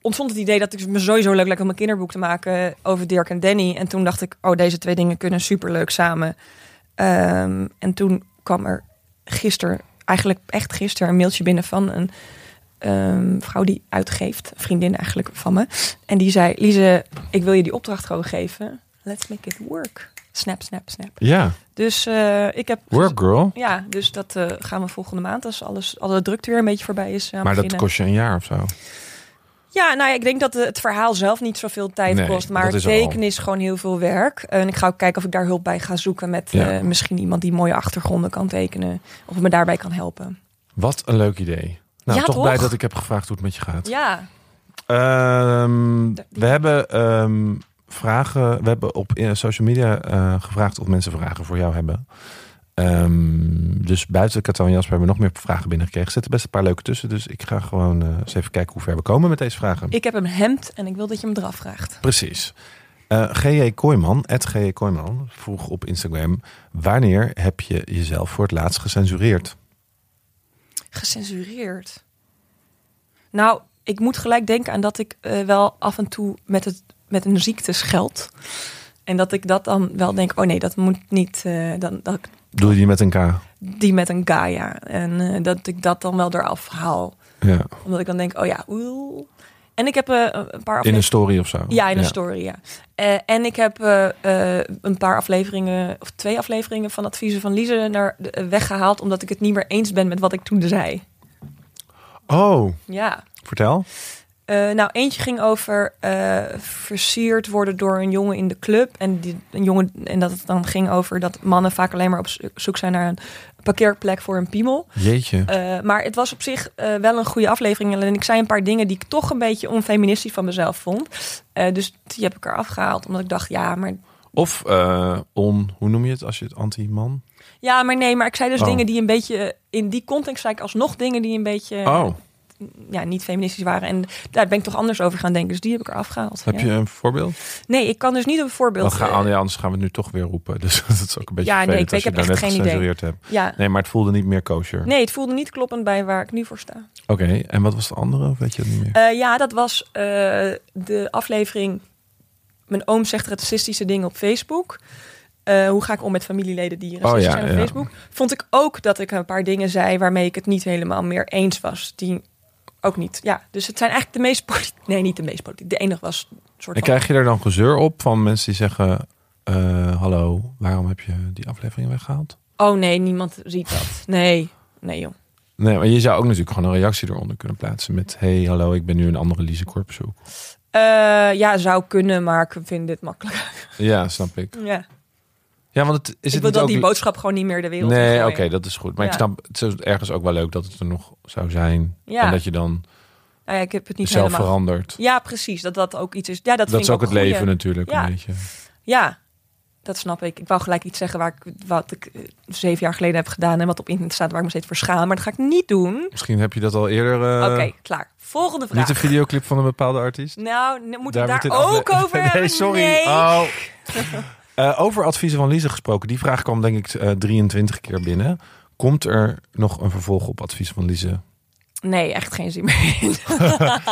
ontstond het idee dat ik me sowieso leuk leuk om een kinderboek te maken over Dirk en Danny. En toen dacht ik, oh, deze twee dingen kunnen superleuk samen. Ehm, en toen kwam er gisteren, eigenlijk echt gisteren, een mailtje binnen van een ehm, vrouw die uitgeeft, een vriendin eigenlijk van me. En die zei, Lize, ik wil je die opdracht gewoon geven. Let's make it work. Snap, snap, snap.
Ja,
Dus eh, ik heb
work girl.
ja, dus dat eh, gaan we volgende maand, als alles, alle drukte weer een beetje voorbij is. eh, aan
Maar dat
beginnen.
kost je een jaar of zo.
Ja, nou ja, ik denk dat eh, het verhaal zelf niet zoveel tijd
Nee,
kost. Maar
dat
het
is er al.
tekenen is gewoon heel veel werk. En ik ga ook kijken of ik daar hulp bij ga zoeken met
Ja.
eh, misschien iemand die mooie achtergronden kan tekenen. Of me daarbij kan helpen.
Wat een leuk idee. Nou,
Ja,
toch,
toch?
blij dat ik heb gevraagd hoe het met je gaat.
Ja,
Ehm, we hebben ehm, vragen... We hebben op eh, social media eh, gevraagd of mensen vragen voor jou hebben. Ehm, dus buiten Katan en Jasper hebben we nog meer vragen binnengekregen. Er zitten best een paar leuke tussen. Dus ik ga gewoon eh, eens even kijken hoe ver we komen met deze vragen.
ik heb een hemd en ik wil dat je hem eraf vraagt.
Precies. Eh G.J. Kooijman, at G.J. Kooijman, vroeg op Instagram... wanneer heb je jezelf voor het laatst gecensureerd?
Gecensureerd. Nou, ik moet gelijk denken aan dat ik eh, wel af en toe met, het, met een ziekte scheld. En dat ik dat dan wel denk, oh nee, dat moet niet. eh, dan, dat,
Doe je die met een K?
die met een Gaia. En eh, dat ik dat dan wel eraf haal.
Ja.
Omdat ik dan denk, oh ja, oel. En ik heb eh, een paar
In een
afleveringen.
story of zo.
Ja, in een story, ja. Eh, en ik heb eh, eh, een paar afleveringen, of twee afleveringen van adviezen van Lize naar de, eh, weggehaald, omdat ik het niet meer eens ben met wat ik toen zei.
Oh,
Ja.
vertel.
Eh, nou, eentje ging over eh, versierd worden door een jongen in de club. En, die, een jongen, en dat het dan ging over dat mannen vaak alleen maar op zo- zoek zijn naar een parkeerplek voor een piemel.
Jeetje.
Eh, maar het was op zich eh, wel een goede aflevering. En ik zei een paar dingen die ik toch een beetje onfeministisch van mezelf vond. Eh, dus die heb ik eraf gehaald. Omdat ik dacht, ja, maar
Of eh, on, hoe noem je het als je het anti-man?
Ja, maar nee, maar ik zei dus
Oh.
dingen die een beetje... In die context zei ik alsnog dingen die een beetje
Oh,
ja, niet feministisch waren. En daar ben ik toch anders over gaan denken. Dus die heb ik eraf gehaald.
heb
ja.
je een voorbeeld?
Nee, ik kan dus niet op een voorbeeld...
Dan gaan,
eh,
ja, anders gaan we het nu toch weer roepen. Dus dat is ook een beetje
Ja, nee,
vervelend
ik weet-
als je
ik heb
daar net
echt geen idee.
gecensureerd hebt.
ja.
Nee, maar het voelde niet meer kosher.
Nee, het voelde niet kloppend bij waar ik nu voor sta.
Oké, en wat was de andere? Of weet je dat niet meer?
Eh, ja, dat was eh, de aflevering... Mijn oom zegt racistische dingen op Facebook. Eh, hoe ga ik om met familieleden die racistisch
Oh, ja,
zijn
ja.
op Facebook? Vond ik ook dat ik een paar dingen zei... waarmee ik het niet helemaal meer eens was. Die ook niet, ja. Dus het zijn eigenlijk de meest... polit- Nee, niet de meest politiek. De enige was een soort
en
van...
krijg je er dan gezeur op van mensen die zeggen... eh, hallo, waarom heb je die aflevering weggehaald?
Oh nee, niemand ziet dat. Nee, nee joh.
Nee, maar je zou ook natuurlijk gewoon een reactie eronder kunnen plaatsen met... Hey, hallo, ik ben nu een andere Lise Korp zoek.
Eh, ja, zou kunnen, maar ik vind dit makkelijk.
Ja, snap ik.
Ja.
Ja, want het, is het
Ik wil
niet
dat
ook...
die boodschap gewoon niet meer de wereld in
Nee, oké,
gooien.
dat is goed. Maar ik
Ja.
snap, het is ergens ook wel leuk dat het er nog zou zijn.
Ja.
En dat je dan
Nou ja, ik heb het niet
zelf
helemaal.
verandert.
Ja, precies. Dat dat ook iets is. Ja, dat,
Dat,
vind
is
ik
ook het
een goeie.
leven natuurlijk,
Ja.
een beetje.
Ja, dat snap ik. Ik wou gelijk iets zeggen waar ik, wat ik eh, zeven jaar geleden heb gedaan en wat op internet staat waar ik me steeds voor schaam. Maar dat ga ik niet doen.
Misschien heb je dat al eerder... eh,
Oké, klaar. Volgende vraag.
Niet de videoclip van een bepaalde artiest?
Nou, ne-
Daar
moeten we
moet
daar
dit afle-
ook over hebben?
Nee, sorry.
Nee.
Oh. Eh, over adviezen van Lise gesproken. Die vraag kwam denk ik eh, 23 keer binnen. Komt er nog een vervolg op adviezen van Lise?
Nee, echt geen zin meer in.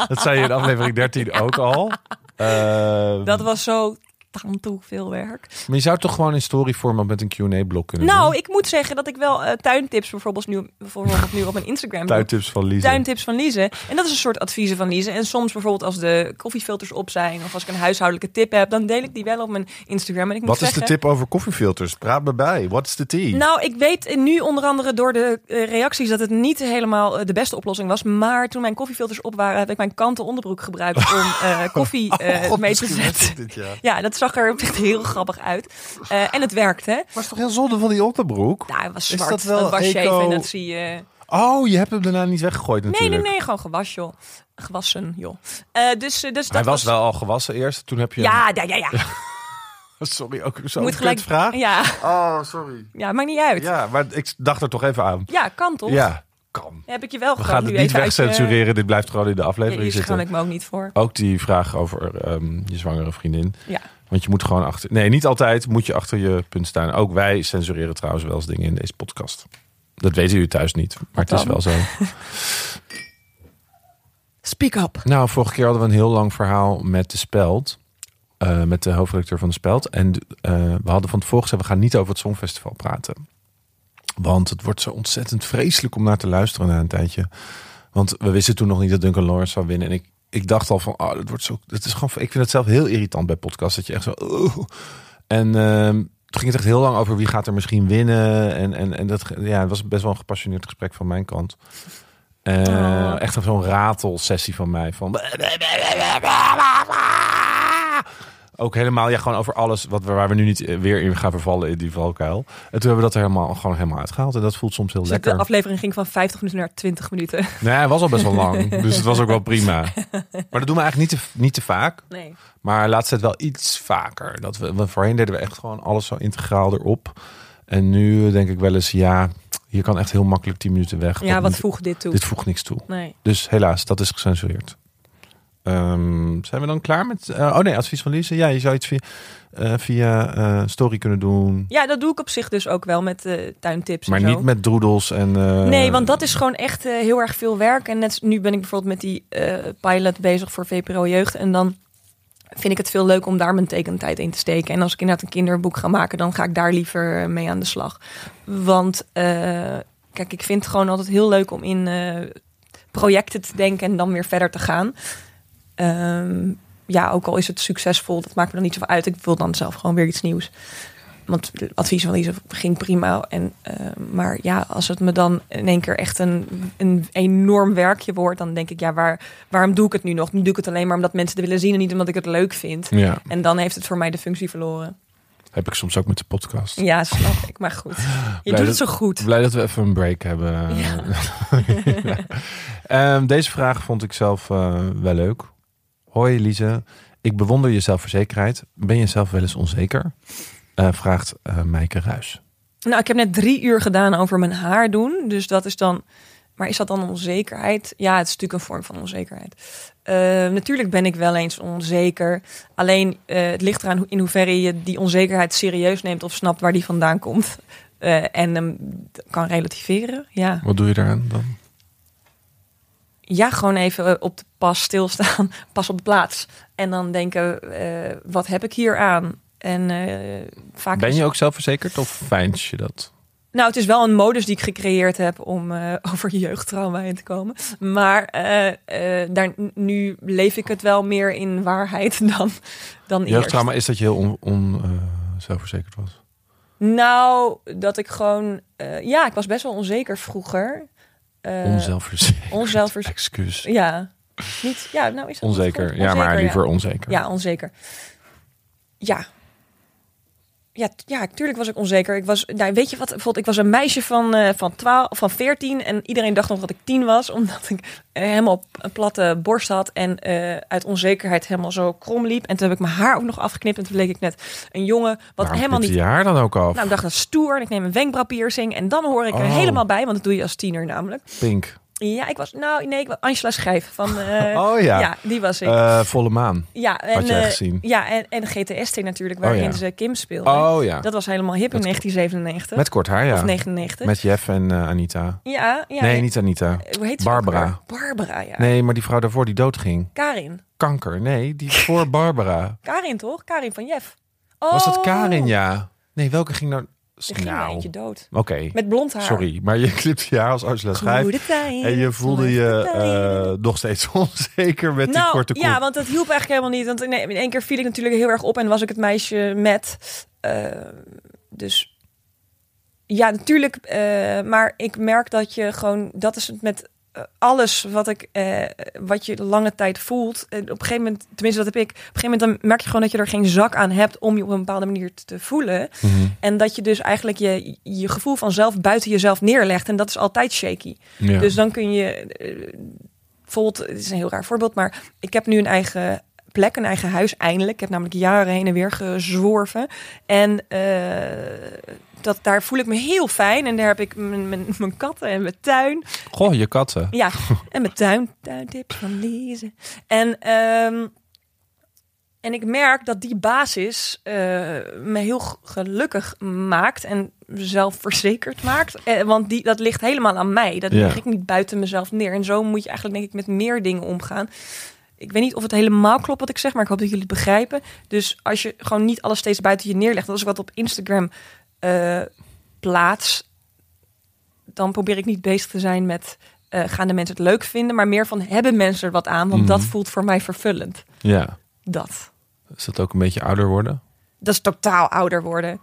Dat zei je in aflevering 13 ook al. Eh,
Dat was zo tantoe veel werk.
Maar je zou het toch gewoon in storyformat met een Q&A-blok kunnen
Nou,
doen?
ik moet zeggen dat ik wel eh, tuintips bijvoorbeeld nu, bijvoorbeeld nu op mijn Instagram doe.
Tuintips van Lise.
Tuintips van Lize. En dat is een soort adviezen van Lize. En soms bijvoorbeeld als de koffiefilters op zijn... of als ik een huishoudelijke tip heb... dan deel ik die wel op mijn Instagram. En ik moet
Wat is
zeggen,
de tip over koffiefilters? Praat me bij. Wat is de tea?
Nou, ik weet eh, nu onder andere door de eh, reacties... dat het niet helemaal eh, de beste oplossing was. Maar toen mijn koffiefilters op waren... heb ik mijn kanten onderbroek gebruikt om eh, koffie eh, mee te
Oh, misschien was
zetten.
het dit jaar.
Ja, dat zag er echt heel grappig uit. Eh, en het werkt, hè?
Maar het is toch heel zonde van die onderbroek?
Nou, het was
Is
zwart.
dat wel
dat was shaven,
eco-
dat zie je...
Oh, je hebt hem daarna niet weggegooid natuurlijk.
Nee, nee, nee, gewoon gewas, joh. Gewassen, joh. Eh, dus, eh, dus
Hij
dat
was wel al gewassen eerst. Toen heb je
Ja, ja, ja, ja.
Sorry, ook zo'n
Moet gelijk...
vraag.
Ja,
Oh, sorry.
ja, maakt niet uit. Ja,
Ja, maar ik dacht er toch even aan.
kan toch?
Ja, kan.
Heb ik je wel
We
gewoon
gaan
nu
het niet
even uit je-
wegcensureren. Dit blijft gewoon in de
Ja,
aflevering
hier
zitten. Oh,
schaam ik me ook niet voor.
Ook die vraag over ehm, je zwangere vriendin.
Ja.
Want je moet gewoon achter... Nee, niet altijd moet je achter je punt staan. Ook wij censureren trouwens wel eens dingen in deze podcast. Dat weten jullie thuis niet, maar
Wat
het is wel
dan?
zo.
Speak up.
Nou, vorige keer hadden we een heel lang verhaal met de Speld. eh, met de hoofdredacteur van de Speld. En eh, we hadden van tevoren gezegd, we gaan niet over het Songfestival praten. Want het wordt zo ontzettend vreselijk om naar te luisteren na een tijdje. Want we wisten toen nog niet dat Duncan Lawrence zou winnen. En ik, ik dacht al van, oh, dat wordt zo... Dat is gewoon, ik vind het zelf heel irritant bij podcasts. Dat je echt zo... "Oeh." En ehm, toen ging het echt heel lang over wie gaat er misschien winnen. En, en, en dat ja, het was best wel een gepassioneerd gesprek van mijn kant. Eh,
Oh.
Echt zo'n ratelsessie van mij. Van... Ook helemaal, ja, gewoon over alles wat we, waar we nu niet eh, weer in gaan vervallen in die valkuil. En toen hebben we dat er helemaal, gewoon helemaal uitgehaald. En dat voelt soms heel
Dus
lekker.
de aflevering ging van 50 minuten naar 20 minuten.
Nee, hij was al best wel lang. dus het was ook wel prima. Maar dat doen we eigenlijk niet te, niet te vaak.
Nee.
Maar laatst het wel iets vaker. Dat we, want voorheen deden we echt gewoon alles zo integraal erop. En nu denk ik wel eens, ja, hier kan echt heel makkelijk 10 minuten weg.
Ja,
Dat
wat
moet-
voegt dit toe?
Dit voegt niks toe.
Nee.
Dus helaas, dat is gecensureerd. Ehm, zijn we dan klaar met... eh, oh nee, advies van Lise. Ja, je zou iets via, eh, via eh, story kunnen doen.
Ja, dat doe ik op zich dus ook wel met eh, tuintips
Maar
en zo.
niet met droedels en... eh,
Nee, want dat is gewoon echt eh, heel erg veel werk. En net, nu ben ik bijvoorbeeld met die eh, pilot bezig voor VPRO Jeugd. En dan vind ik het veel leuk om daar mijn tekentijd in te steken. En als ik inderdaad een kinderboek ga maken, dan ga ik daar liever eh, mee aan de slag. Want eh, kijk, ik vind het gewoon altijd heel leuk om in eh, projecten te denken en dan weer verder te gaan. Ehm, ja, ook al is het succesvol, dat maakt me dan niet zoveel uit. Ik wil dan zelf gewoon weer iets nieuws. Want de adviezen van Lise ging prima. En, eh, maar ja, als het me dan in één keer echt een, een enorm werkje wordt, dan denk ik, ja, waar, waarom doe ik het nu nog? Nu doe ik het alleen maar omdat mensen het willen zien en niet omdat ik het leuk vind.
Ja,
En dan heeft het voor mij de functie verloren.
heb ik soms ook met de podcast.
Ja, snap ik. Maar goed, je doet het zo goed.
Blij dat we even een break hebben.
Ja.
Ehm, deze vraag vond ik zelf eh, wel leuk. Hoi Lise, ik bewonder je zelfverzekerheid. Ben je zelf wel eens onzeker? Eh, vraagt eh Mijke Ruis.
Nou, ik heb net drie uur gedaan over mijn haar doen. Dus dat is dan. Maar is dat dan onzekerheid? Ja, het is natuurlijk een vorm van onzekerheid. Eh, natuurlijk ben ik wel eens onzeker. Alleen eh, het ligt eraan hoe- in hoeverre je die onzekerheid serieus neemt of snapt waar die vandaan komt. Eh, en hem kan relativeren. Ja.
Wat doe je daaraan dan?
ja, gewoon even eh, op de pas stilstaan, pas op de plaats. En dan denken, eh, wat heb ik hier aan? En eh, vaak
Ben
is-
je ook zelfverzekerd of fijns je dat?
Nou, het is wel een modus die ik gecreëerd heb om eh, over jeugdtrauma heen te komen. Maar eh, eh, daar, nu leef ik het wel meer in waarheid dan, dan eerst.
Jeugdtrauma is dat je heel on, on, eh, zelfverzekerd was.
Nou, dat ik gewoon... eh, ja, ik was best wel onzeker vroeger. Eh,
Onzelfverzekerd.
onzelfvers-
Excuus.
Ja. Niet, ja, nou is dat
Onzeker.
goed?
Ja, maar
Onzeker,
liever onzeker.
Ja, onzeker. Ja. Ja, t- ja, tuurlijk was ik onzeker. Ik was, nou, weet je wat, bijvoorbeeld, ik was een meisje van, eh van, 12, van 14 en iedereen dacht nog dat ik 10 was, omdat ik eh, helemaal p- een platte borst had en eh, uit onzekerheid helemaal zo krom liep. En toen heb ik mijn haar ook nog afgeknipt en toen bleek ik net een jongen, wat
Waarom
helemaal
knipt
niet
je haar dan ook af?
nou, ik dacht dat is stoer en ik neem een wenkbrauwpiercing en dan hoor ik er
Oh.
helemaal bij, want dat doe je als tiener namelijk.
Pink.
Ja, ik was, nou nee, ik was Angela Schijf van, eh,
Oh ja.
ja, die was ik.
Eh, volle maan.
Ja, en,
jij
eh,
gezien.
Ja, en, en GTS-T natuurlijk,
Oh,
waarin
ja.
ze Kim speelde.
Oh ja.
Dat was helemaal hip in
Dat-
1997.
Met kort haar, ja.
Of 99.
Met Jeff en eh, Anita.
Ja, ja. Eh,
nee,
ja.
niet Anita.
Hoe heet ze
Barbara.
ook alweer? Barbara, ja.
Nee, maar die vrouw daarvoor die doodging.
Karin.
Kanker. Nee, die voor Barbara.
Karin, toch? Karin van Jeff. Oh,
Was dat Karin, ja? Nee, welke ging nou...
Er ging er
nou,
eentje
oké.
dood. Met blond haar.
Sorry, maar je klipt je haar als Angela Schijf.
Goede tijd.
En je voelde je
Goede tijd.
eh, nog steeds onzeker met die
nou,
korte kop.
ja, want dat hielp eigenlijk helemaal niet. Want in, in één keer viel ik natuurlijk heel erg op en was ik het meisje met. Eh, dus ja, natuurlijk. eh, maar ik merk dat je gewoon, dat is het met eh, alles wat ik, eh, wat je lange tijd voelt. En op een gegeven moment, tenminste dat heb ik. Op een gegeven moment dan merk je gewoon dat je er geen zak aan hebt om je op een bepaalde manier te- te voelen.
Mhm.
En dat je dus eigenlijk je, je gevoel vanzelf buiten jezelf neerlegt. En dat is altijd shaky.
Ja.
Dus dan kun je eh, bijvoorbeeld, het is een heel raar voorbeeld, maar ik heb nu een eigen plek, een eigen huis eindelijk. Ik heb namelijk jaren heen en weer gezworven. En eh, dat, daar voel ik me heel fijn. En daar heb ik mijn, mijn, mijn katten en mijn tuin.
Goh, je katten.
Ja, en mijn tuin, tuintips van lezen. En, ehm, en ik merk dat die basis eh, me heel g- gelukkig maakt en zelfverzekerd maakt. Eh, want die, dat ligt helemaal aan mij. Dat
Ja.
leg ik niet buiten mezelf neer. En zo moet je eigenlijk denk ik met meer dingen omgaan. Ik weet niet of het helemaal klopt wat ik zeg, maar ik hoop dat jullie het begrijpen. Dus als je gewoon niet alles steeds buiten je neerlegt. want Als ik wat op Instagram eh, plaats, dan probeer ik niet bezig te zijn met eh, gaan de mensen het leuk vinden, maar meer van hebben mensen er wat aan, want dat
Mhm.
voelt voor mij vervullend.
Ja.
Dat.
Is dat ook een beetje ouder worden?
Dat is totaal ouder worden.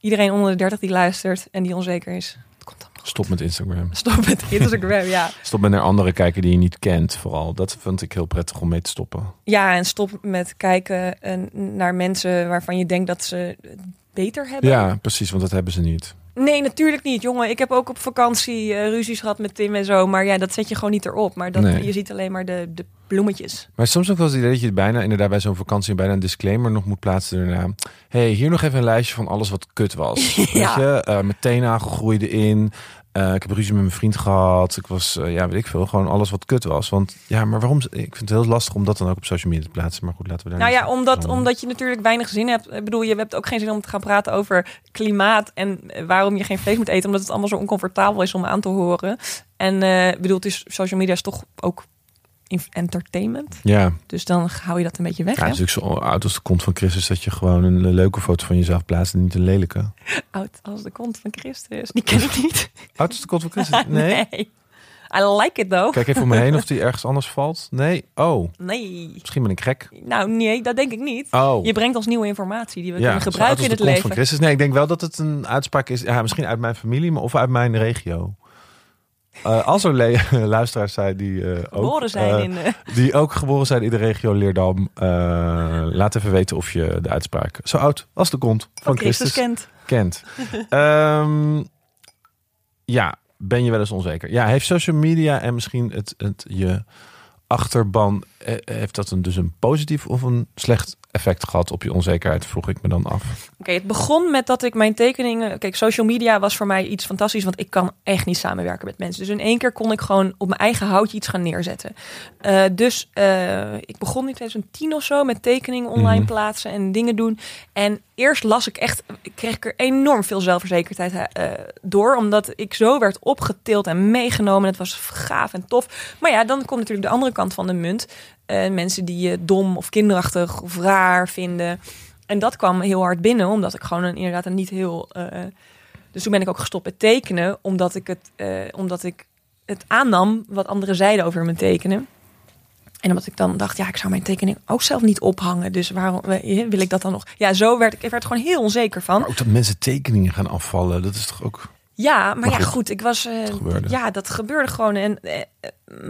Iedereen onder de 30 die luistert en die onzeker is, het komt dan.
Stop met Instagram.
Stop met Instagram, ja.
Stop met naar anderen kijken die je niet kent, vooral. Dat vind ik heel prettig om mee te stoppen.
Ja, en stop met kijken eh, naar mensen waarvan je denkt dat ze het beter hebben.
Ja, precies, want dat hebben ze niet.
Nee, natuurlijk niet, jongen. Ik heb ook op vakantie eh, ruzies gehad met Tim en zo. Maar ja, dat zet je gewoon niet erop. Maar dat,
Nee.
je ziet alleen maar de, de bloemetjes.
Maar soms ook wel het idee dat je het bijna inderdaad bij zo'n vakantie bijna een disclaimer nog moet plaatsen daarna. hey, hier nog even een lijstje van alles wat kut was. Weet je, Eh mijn teennagel groeide in. Eh, ik heb ruzie met mijn vriend gehad. Ik was, eh, ja, weet ik veel, gewoon alles wat kut was. Want ja, maar waarom? Ik vind het heel lastig om dat dan ook op social media te plaatsen. Maar goed, laten we daar.
Nou
niet
ja,
zo-
omdat,
zo-
omdat je natuurlijk weinig zin hebt. Ik bedoel, je hebt ook geen zin om te gaan praten over klimaat en eh, waarom je geen vlees moet eten. Omdat het allemaal zo oncomfortabel is om aan te horen. En eh, ik bedoel, het is, social media is toch ook inf- entertainment.
Ja,
Dus dan hou je dat een beetje weg.
ja
hè?
natuurlijk zo oud als de kont van Christus dat je gewoon een leuke foto van jezelf plaatst en niet een lelijke.
Oud als de kont van Christus. Die ken ik niet.
Oud als de kont van Christus? Nee.
nee. I like it though.
Kijk even om me heen of die ergens anders valt. Nee. Oh,
Nee.
misschien ben ik gek.
Nou, nee, dat denk ik niet.
Oh.
Je brengt ons nieuwe informatie die we
ja,
kunnen
zo oud als
gebruiken in
de komst
het
van
leven.
Christus. Nee, ik denk wel dat het een uitspraak is. Ja, misschien uit mijn familie, maar of uit mijn regio. Eh, als er le- luisteraars zijn die eh, ook
Geboren zijn
eh,
in... eh,
die ook geboren zijn in de regio Leerdam, eh, laat even weten of je de uitspraak zo oud als de kont van,
van
Christus,
Christus kent.
kent. Ehm, ja, ben je wel eens onzeker? Ja, heeft social media en misschien het, het je achterban, eh, heeft dat een, dus een positief of een slecht effect gehad op je onzekerheid? Vroeg ik me dan af.
Oké, het begon met dat ik mijn tekeningen... Kijk, social media was voor mij iets fantastisch, want ik kan echt niet samenwerken met mensen. Dus in één keer kon ik gewoon op mijn eigen houtje iets gaan neerzetten. Eh, dus eh, ik begon in 2010 of zo met tekeningen online
Mhm.
plaatsen en dingen doen. En eerst las ik echt, kreeg ik er enorm veel zelfverzekerdheid eh, door, omdat ik zo werd opgetild en meegenomen. Het was gaaf en tof. Maar ja, dan komt natuurlijk de andere kant van de munt. Eh, mensen die je dom of kinderachtig of raar vinden. En dat kwam heel hard binnen, omdat ik gewoon een, inderdaad een niet heel. eh, dus toen ben ik ook gestopt met tekenen, omdat ik het, eh, omdat ik het aannam wat anderen zeiden over mijn tekenen. En omdat ik dan dacht, ja, ik zou mijn tekening ook zelf niet ophangen. Dus waarom eh, wil ik dat dan nog? Ja, zo werd ik, ik werd er gewoon heel onzeker van.
Maar ook dat mensen tekeningen gaan afvallen, dat is toch ook.
Ja, maar
Maar
ja,
goed,
goed, ik was. eh,
gebeurde.
ja, dat gebeurde gewoon. En, eh, eh,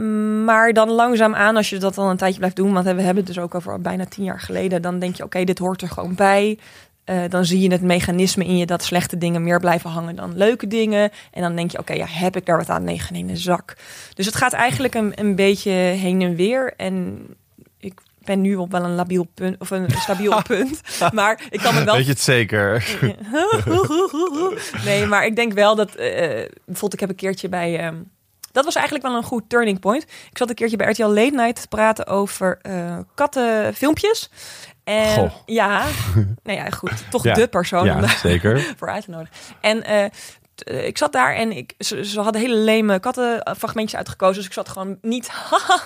maar dan langzaamaan, als je dat dan een tijdje blijft doen, want we hebben het dus ook over bijna tien jaar geleden, dan denk je: oké, dit hoort er gewoon bij. Eh, dan zie je het mechanisme in je dat slechte dingen meer blijven hangen dan leuke dingen. En dan denk je: oké, ja, heb ik daar wat aan? Nee, geen ene zak. Dus het gaat eigenlijk een, een beetje heen en weer. En ik ben nu op wel een labiel punt, of een stabiel punt. Maar ik kan me wel
Weet je het zeker?
nee, maar ik denk wel dat. eh, bijvoorbeeld, ik heb een keertje bij. ehm, dat was eigenlijk wel een goed turning point. Ik zat een keertje bij RTL Late Night te praten over eh, kattenfilmpjes. En
Goh.
ja, nou ja, goed. Toch
Ja.
de persoon om
Ja,
daar-
zeker.
voor uit te nodigen. En eh, t- eh, ik zat daar en ik, ze, ze hadden hele leme kattenfragmentjes uitgekozen. Dus ik zat gewoon niet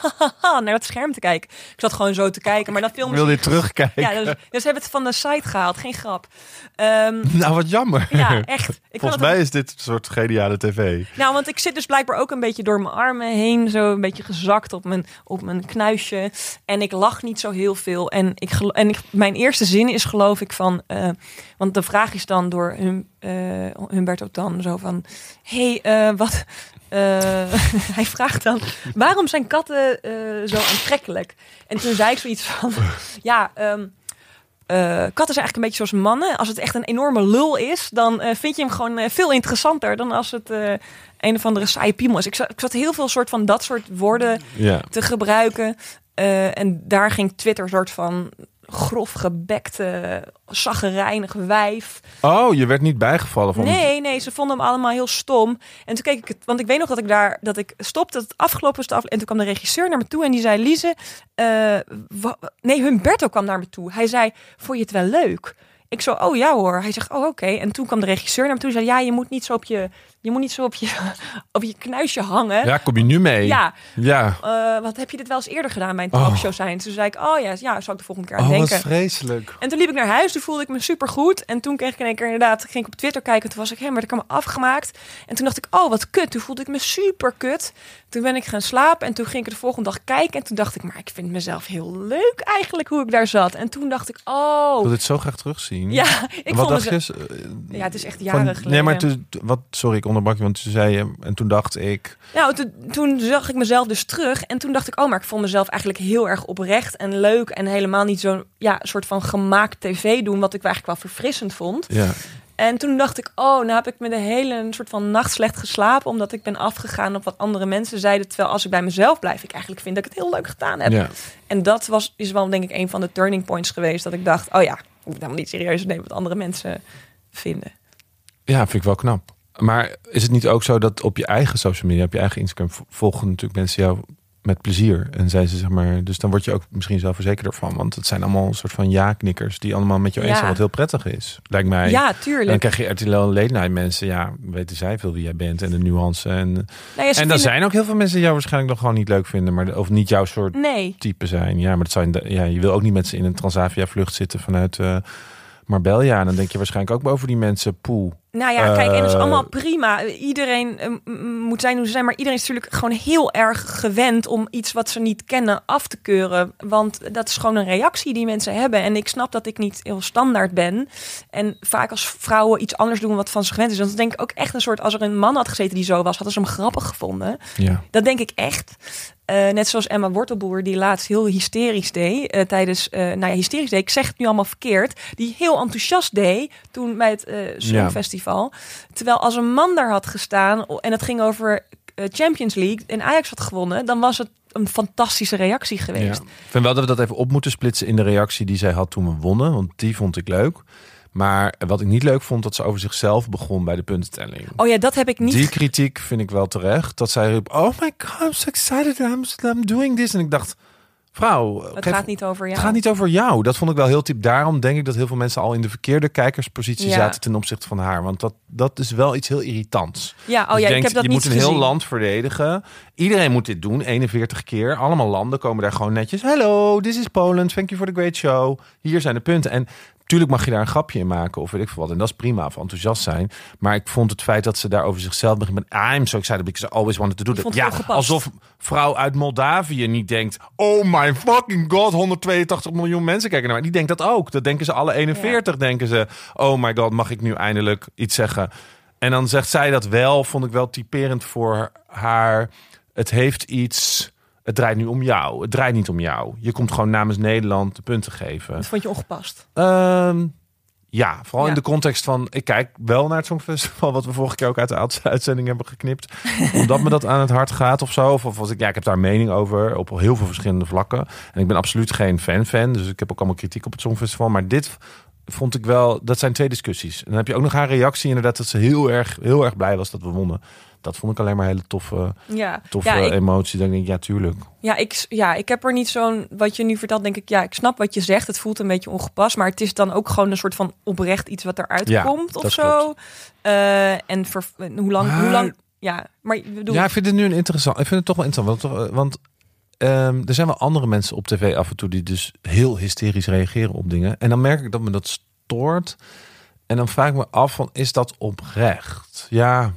naar dat scherm te kijken. Ik zat gewoon zo te kijken. Maar dat
Ik
film
wil dit terugkijken.
Ja, dus, dus ze hebben het van de site gehaald. Geen grap. Ehm,
Nou, wat jammer.
ja, echt. Ik kan het
Volgens mij is dit een soort geniale tv.
Nou, want ik zit dus blijkbaar ook een beetje door mijn armen heen. Zo een beetje gezakt op mijn, op mijn knuisje. En ik lach niet zo heel veel. En, ik gelo- en ik, mijn eerste zin is geloof ik van... eh, want de vraag is dan door hum, eh, Humberto Tan zo van... hey, eh, wat... eh, hij vraagt dan, waarom zijn katten eh, zo aantrekkelijk? En toen zei ik zoiets van, ja, ehm, eh, katten zijn eigenlijk een beetje zoals mannen. Als het echt een enorme lul is, dan eh, vind je hem gewoon eh, veel interessanter dan als het eh, een of andere saaie piemel is. Ik zat, ik zat heel veel soort van dat soort woorden
Ja.
te gebruiken. eh, en daar ging Twitter soort van grof gebekte, zaggerijnig wijf.
Oh, je werd niet bijgevallen van.
Nee, nee, ze vonden hem allemaal heel stom. En toen keek ik het, want ik weet nog dat ik daar, dat ik stopte, dat het afgelopen was. En toen kwam de regisseur naar me toe en die zei: Lize, eh, wa- nee, Humberto kwam naar me toe. Hij zei: Vond je het wel leuk? Ik zo, oh ja hoor. Hij zegt, oh oké. En toen kwam de regisseur naar me toe en zei, ja, je moet niet zo op je, je, moet niet zo op je, op je knuisje hangen.
Ja, kom je nu mee?
Ja,
Ja.
eh, wat heb je dit wel eens eerder gedaan bij een
Oh.
talkshow zijn? Toen zei ik, oh ja, ja, zal ik de volgende keer aan
Oh, wat
denken.
vreselijk.
En toen liep ik naar huis, toen voelde ik me supergoed. En toen kreeg ik in één keer inderdaad, ging ik op Twitter kijken. Toen was ik, hé, maar ik had me afgemaakt. En toen dacht ik, oh, wat kut. Toen voelde ik me super kut. Toen ben ik gaan slapen en toen ging ik de volgende dag kijken. En toen dacht ik, maar ik vind mezelf heel leuk eigenlijk hoe ik daar zat. En toen dacht ik,
Ik wil
oh.
dit zo graag terugzien.
Ja, ik
wat
vond
dacht
het...
je? Eh,
Ja, het is echt
van-
jaren
Nee,
geleden.
maar toen, toen- wat, sorry, ik onderbrak je, want toen zei je, en toen dacht ik,
Nou, toen, toen zag ik mezelf dus terug. En toen dacht ik, oh, maar ik vond mezelf eigenlijk heel erg oprecht en leuk. En helemaal niet zo'n ja, soort van gemaakt tv doen. Wat ik eigenlijk wel verfrissend vond.
ja,
En toen dacht ik, oh, nou heb ik me de hele een soort van nacht slecht geslapen. Omdat ik ben afgegaan op wat andere mensen zeiden. Terwijl als ik bij mezelf blijf, ik eigenlijk vind dat ik het heel leuk gedaan heb.
ja.
En dat was, is wel denk ik een van de turning points geweest. Dat ik dacht, oh ja, ik moet helemaal niet serieus nemen wat andere mensen vinden.
Ja, vind ik wel knap. Maar is het niet ook zo dat op je eigen social media, op je eigen Instagram, v- volgen natuurlijk mensen jou met plezier? En zijn ze zeg maar, dus dan word je ook misschien zelfverzekerder van, want het zijn allemaal een soort van ja-knikkers die allemaal met jou eens
Ja.
zijn, wat heel prettig is, lijkt mij.
Ja,
En dan
tuurlijk.
krijg je RTL late night mensen, ja, weten zij veel wie jij bent en de nuance. En,
Nou ja, ze
en dan
vinden-
zijn ook heel veel mensen die jou waarschijnlijk nog gewoon niet leuk vinden, maar, de- of niet jouw soort
Nee,
type zijn. Ja, maar dat zijn de- ja, je wil ook niet met ze in een Transavia vlucht zitten vanuit eh Marbella. En dan denk je waarschijnlijk ook over die mensen, poe.
Nou ja, kijk, en dat is
Eh,
allemaal prima. Iedereen eh, m- m- moet zijn hoe ze zijn. Maar iedereen is natuurlijk gewoon heel erg gewend om iets wat ze niet kennen af te keuren. Want dat is gewoon een reactie die mensen hebben. En ik snap dat ik niet heel standaard ben. En vaak als vrouwen iets anders doen wat van ze gewend is. Dan denk ik ook echt een soort, als er een man had gezeten die zo was, hadden ze hem grappig gevonden.
Ja.
Dat denk ik echt. Eh, net zoals Emma Wortelboer, die laatst heel hysterisch deed. eh, tijdens, eh, nou ja, hysterisch deed, ik zeg het nu allemaal verkeerd. Die heel enthousiast deed toen bij het eh Songfestival. Terwijl als een man daar had gestaan o- en het ging over eh, Champions League en Ajax had gewonnen, dan was het een fantastische reactie
Ja.
geweest.
Ik vind wel dat we dat even op moeten splitsen in de reactie die zij had toen we wonnen. Want die vond ik leuk. Maar wat ik niet leuk vond, dat ze over zichzelf begon bij de puntentelling.
Oh ja, dat heb ik niet.
Die kritiek vind ik wel terecht. Dat zij riep, oh my god, I'm so excited, I'm, I'm doing this. En ik dacht, vrouw,
het
geef-
gaat niet over jou.
het gaat niet over jou. Dat vond ik wel heel typ. Daarom denk ik dat heel veel mensen al in de verkeerde kijkerspositie
Ja.
zaten ten opzichte van haar. Want dat, dat is wel iets heel irritants.
Ja,
Dus
oh ja,
je
ik
denkt,
heb dat
je
niet
moet een
gezien.
heel land verdedigen. Iedereen moet dit doen, 41 keer. Allemaal landen komen daar gewoon netjes. Hello, this is Poland. Thank you for the great show. Hier zijn de punten. En tuurlijk mag je daar een grapje in maken of weet ik veel wat. En dat is prima, of enthousiast zijn. Maar ik vond het feit dat ze daar over zichzelf begint met... I'm so excited because I always wanted to do
Ik
that.
vond
Ja,
het ongepast.
alsof vrouw uit Moldavië niet denkt... Oh my fucking god, 182 miljoen mensen kijken naar mij. Die denkt dat ook. Dat denken ze alle 41, denken ze. Oh my god, mag ik nu eindelijk iets zeggen? En dan zegt zij dat wel, vond ik wel typerend voor haar. Het heeft iets. Het draait nu om jou. Het draait niet om jou. Je komt gewoon namens Nederland de punten geven.
Dat vond je ongepast.
Ehm, ja, vooral
Ja.
in de context van. Ik kijk wel naar het Songfestival. Wat we vorige keer ook uit de oudste uitzending hebben geknipt. Omdat me dat aan het hart gaat of zo. Of, of als ik, ja, ik heb daar mening over. Op heel veel verschillende vlakken. En ik ben absoluut geen fan-fan. Dus ik heb ook allemaal kritiek op het Songfestival. Maar dit vond ik wel. Dat zijn twee discussies. En dan heb je ook nog haar reactie. Inderdaad, dat ze heel erg, heel erg blij was dat we wonnen. Dat vond ik alleen maar een hele toffe,
Ja,
toffe
ja, ik,
emotie. Dan denk ik, ja, tuurlijk.
Ja ik, ja, ik heb er niet zo'n. Wat je nu vertelt, denk ik, ja, ik snap wat je zegt. Het voelt een beetje ongepast. Maar het is dan ook gewoon een soort van oprecht iets wat eruit
Ja,
komt of
dat
zo. Eh, en ver- en hoe lang. Hoe
Maar-
lang ja, maar ik bedoel,
Ja, ik vind het nu een interessant. Ik vind het toch wel interessant. Want, toch, eh, want ehm, er zijn wel andere mensen op tv af en toe die dus heel hysterisch reageren op dingen. En dan merk ik dat me dat stoort. En dan vraag ik me af: van, is dat oprecht? Ja,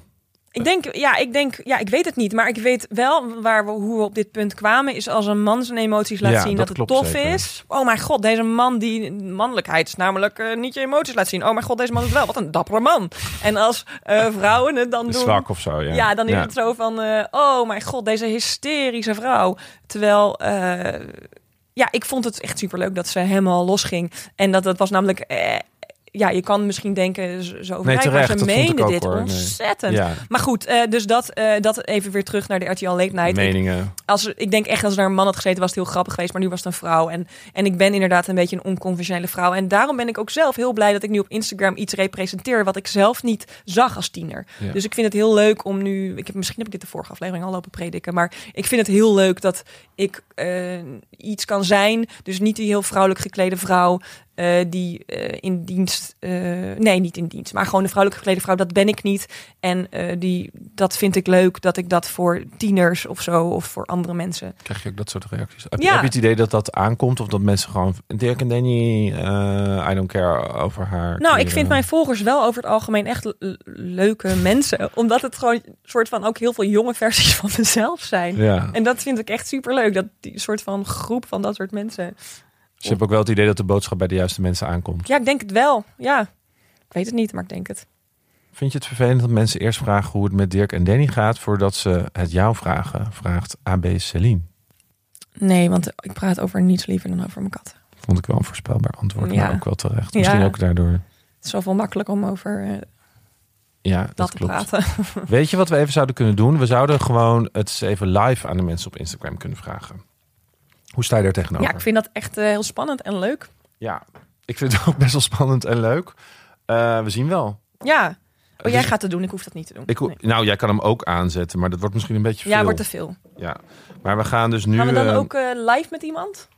ik denk, ja, ik denk, ja, ik weet het niet. Maar ik weet wel waar we, hoe we op dit punt kwamen. Is als een man zijn emoties laat
Ja,
zien
dat
dat, het
klopt
tof
zeker.
is. Oh mijn god, deze man die mannelijkheid is namelijk eh, niet je emoties laat zien. Oh mijn god, deze man doet wel. Wat een dappere man. En als eh, vrouwen het dan doen.
zwak of zo. Ja,
Ja, dan is het zo van, eh, oh mijn god, deze hysterische vrouw. Terwijl, eh, ja, ik vond het echt superleuk dat ze helemaal losging. En dat, dat was namelijk, eh, ja, je kan misschien denken, ze- ze overdrijven,
terecht,
maar
dat
ze
vond ik
meende
ook,
dit
hoor. Nee.
ontzettend.
Ja,
Maar goed, eh, dus dat, eh, dat even weer terug naar de RTL Late Night. Ik-
meningen.
als, ik denk echt, als er een man had gezeten, was het heel grappig geweest. Maar nu was het een vrouw. En, en ik ben inderdaad een beetje een onconventionele vrouw. En daarom ben ik ook zelf heel blij dat ik nu op Instagram iets representeer... wat ik zelf niet zag als tiener.
Ja.
Dus ik vind het heel leuk om nu... Ik heb, misschien heb ik dit de vorige aflevering al lopen prediken. Maar ik vind het heel leuk dat ik eh, iets kan zijn. Dus niet die heel vrouwelijk geklede vrouw... eh, die eh, in dienst, eh, nee, niet in dienst, maar gewoon de vrouwelijk geklede vrouw, dat ben ik niet. En eh, die, dat vind ik leuk dat ik dat voor tieners of zo, of voor andere mensen.
Krijg je ook dat soort reacties? Heb, je-
Ja.
heb je het idee dat dat aankomt? Of dat mensen gewoon. Dirk en Danny, eh, I don't care over haar.
Nou, ik
kleren.
vind mijn volgers wel over het algemeen echt le- le- leuke mensen. Omdat het gewoon soort van ook heel veel jonge versies van mezelf zijn.
Ja.
En dat vind ik echt superleuk, dat die soort van groep van dat soort mensen.
Dus je hebt ook wel het idee dat de boodschap bij de juiste mensen aankomt.
Ja, ik denk het wel. Ja, ik weet het niet, maar ik denk het.
Vind je het vervelend dat mensen eerst vragen hoe het met Dirk en Danny gaat voordat ze het jou vragen? Vraagt AB Celine.
Nee, want ik praat over niets liever dan over mijn katten.
Vond ik wel een voorspelbaar antwoord,
Ja.
maar ook wel terecht.
Ja.
Misschien ook daardoor.
Het is zoveel makkelijk om over eh,
Ja, dat,
dat te
klopt. Nou,
praten.
Weet je wat we even zouden kunnen doen? We zouden gewoon het eens even live aan de mensen op Instagram kunnen vragen. Hoe sta je daar tegenover?
Ja, ik vind dat echt eh, heel spannend en leuk.
Ja, ik vind het ook best wel spannend en leuk. Eh, we zien wel.
Ja. Oh, jij
Dus-
gaat het doen, ik hoef dat niet te doen.
Ik, ho-
Nee.
Nou, jij kan hem ook aanzetten, maar dat wordt misschien een beetje veel.
Ja, wordt te veel.
Ja. Maar we gaan dus nu...
Gaan we dan
eh,
ook eh, live met iemand?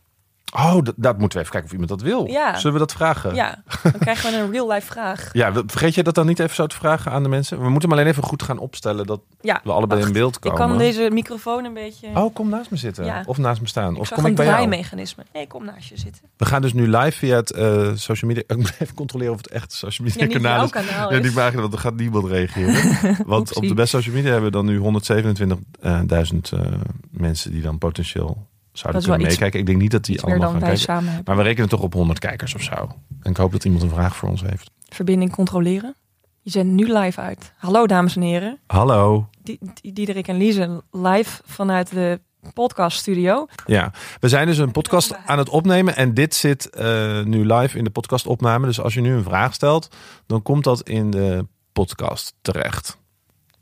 Oh, dat, dat moeten we even kijken of iemand dat wil.
Ja.
Zullen we dat vragen?
Ja, dan krijgen we een real-life vraag.
Ja, we- vergeet je dat dan niet even zo te vragen aan de mensen? We moeten hem alleen even goed gaan opstellen dat
Ja,
we allebei
wacht.
in beeld
Ik
komen.
kan deze microfoon een beetje...
Oh, kom naast me zitten.
Ja.
Of naast me staan.
ik
of
zag
kom
een
ik bij jou?
draaimechanisme. Nee, kom naast je zitten.
We gaan dus nu live via het eh, social media. Ik moet even controleren of het echt social media
Ja, niet
kanaal
jouw
is.
kanaal
Ja,
is.
die pagina, want er gaat niemand reageren. Want op
Oepsie.
de best social media hebben we dan nu 127.000 eh, mensen die dan potentieel zouden
Dat is wel
kunnen
iets-
meekijken. Ik denk niet dat die
Iets meer
allemaal
dan
gaan
wij
kijken.
samen hebben.
Maar we rekenen toch op 100 kijkers of zo. En ik hoop dat iemand een vraag voor ons heeft.
Verbinding controleren. Je zendt nu live uit. Hallo dames en heren.
Hallo.
Die, die, Diederik en Lize live vanuit de podcaststudio.
Ja, we zijn dus een podcast aan het opnemen en dit zit eh, nu live in de podcastopname. Dus als je nu een vraag stelt, dan komt dat in de podcast terecht.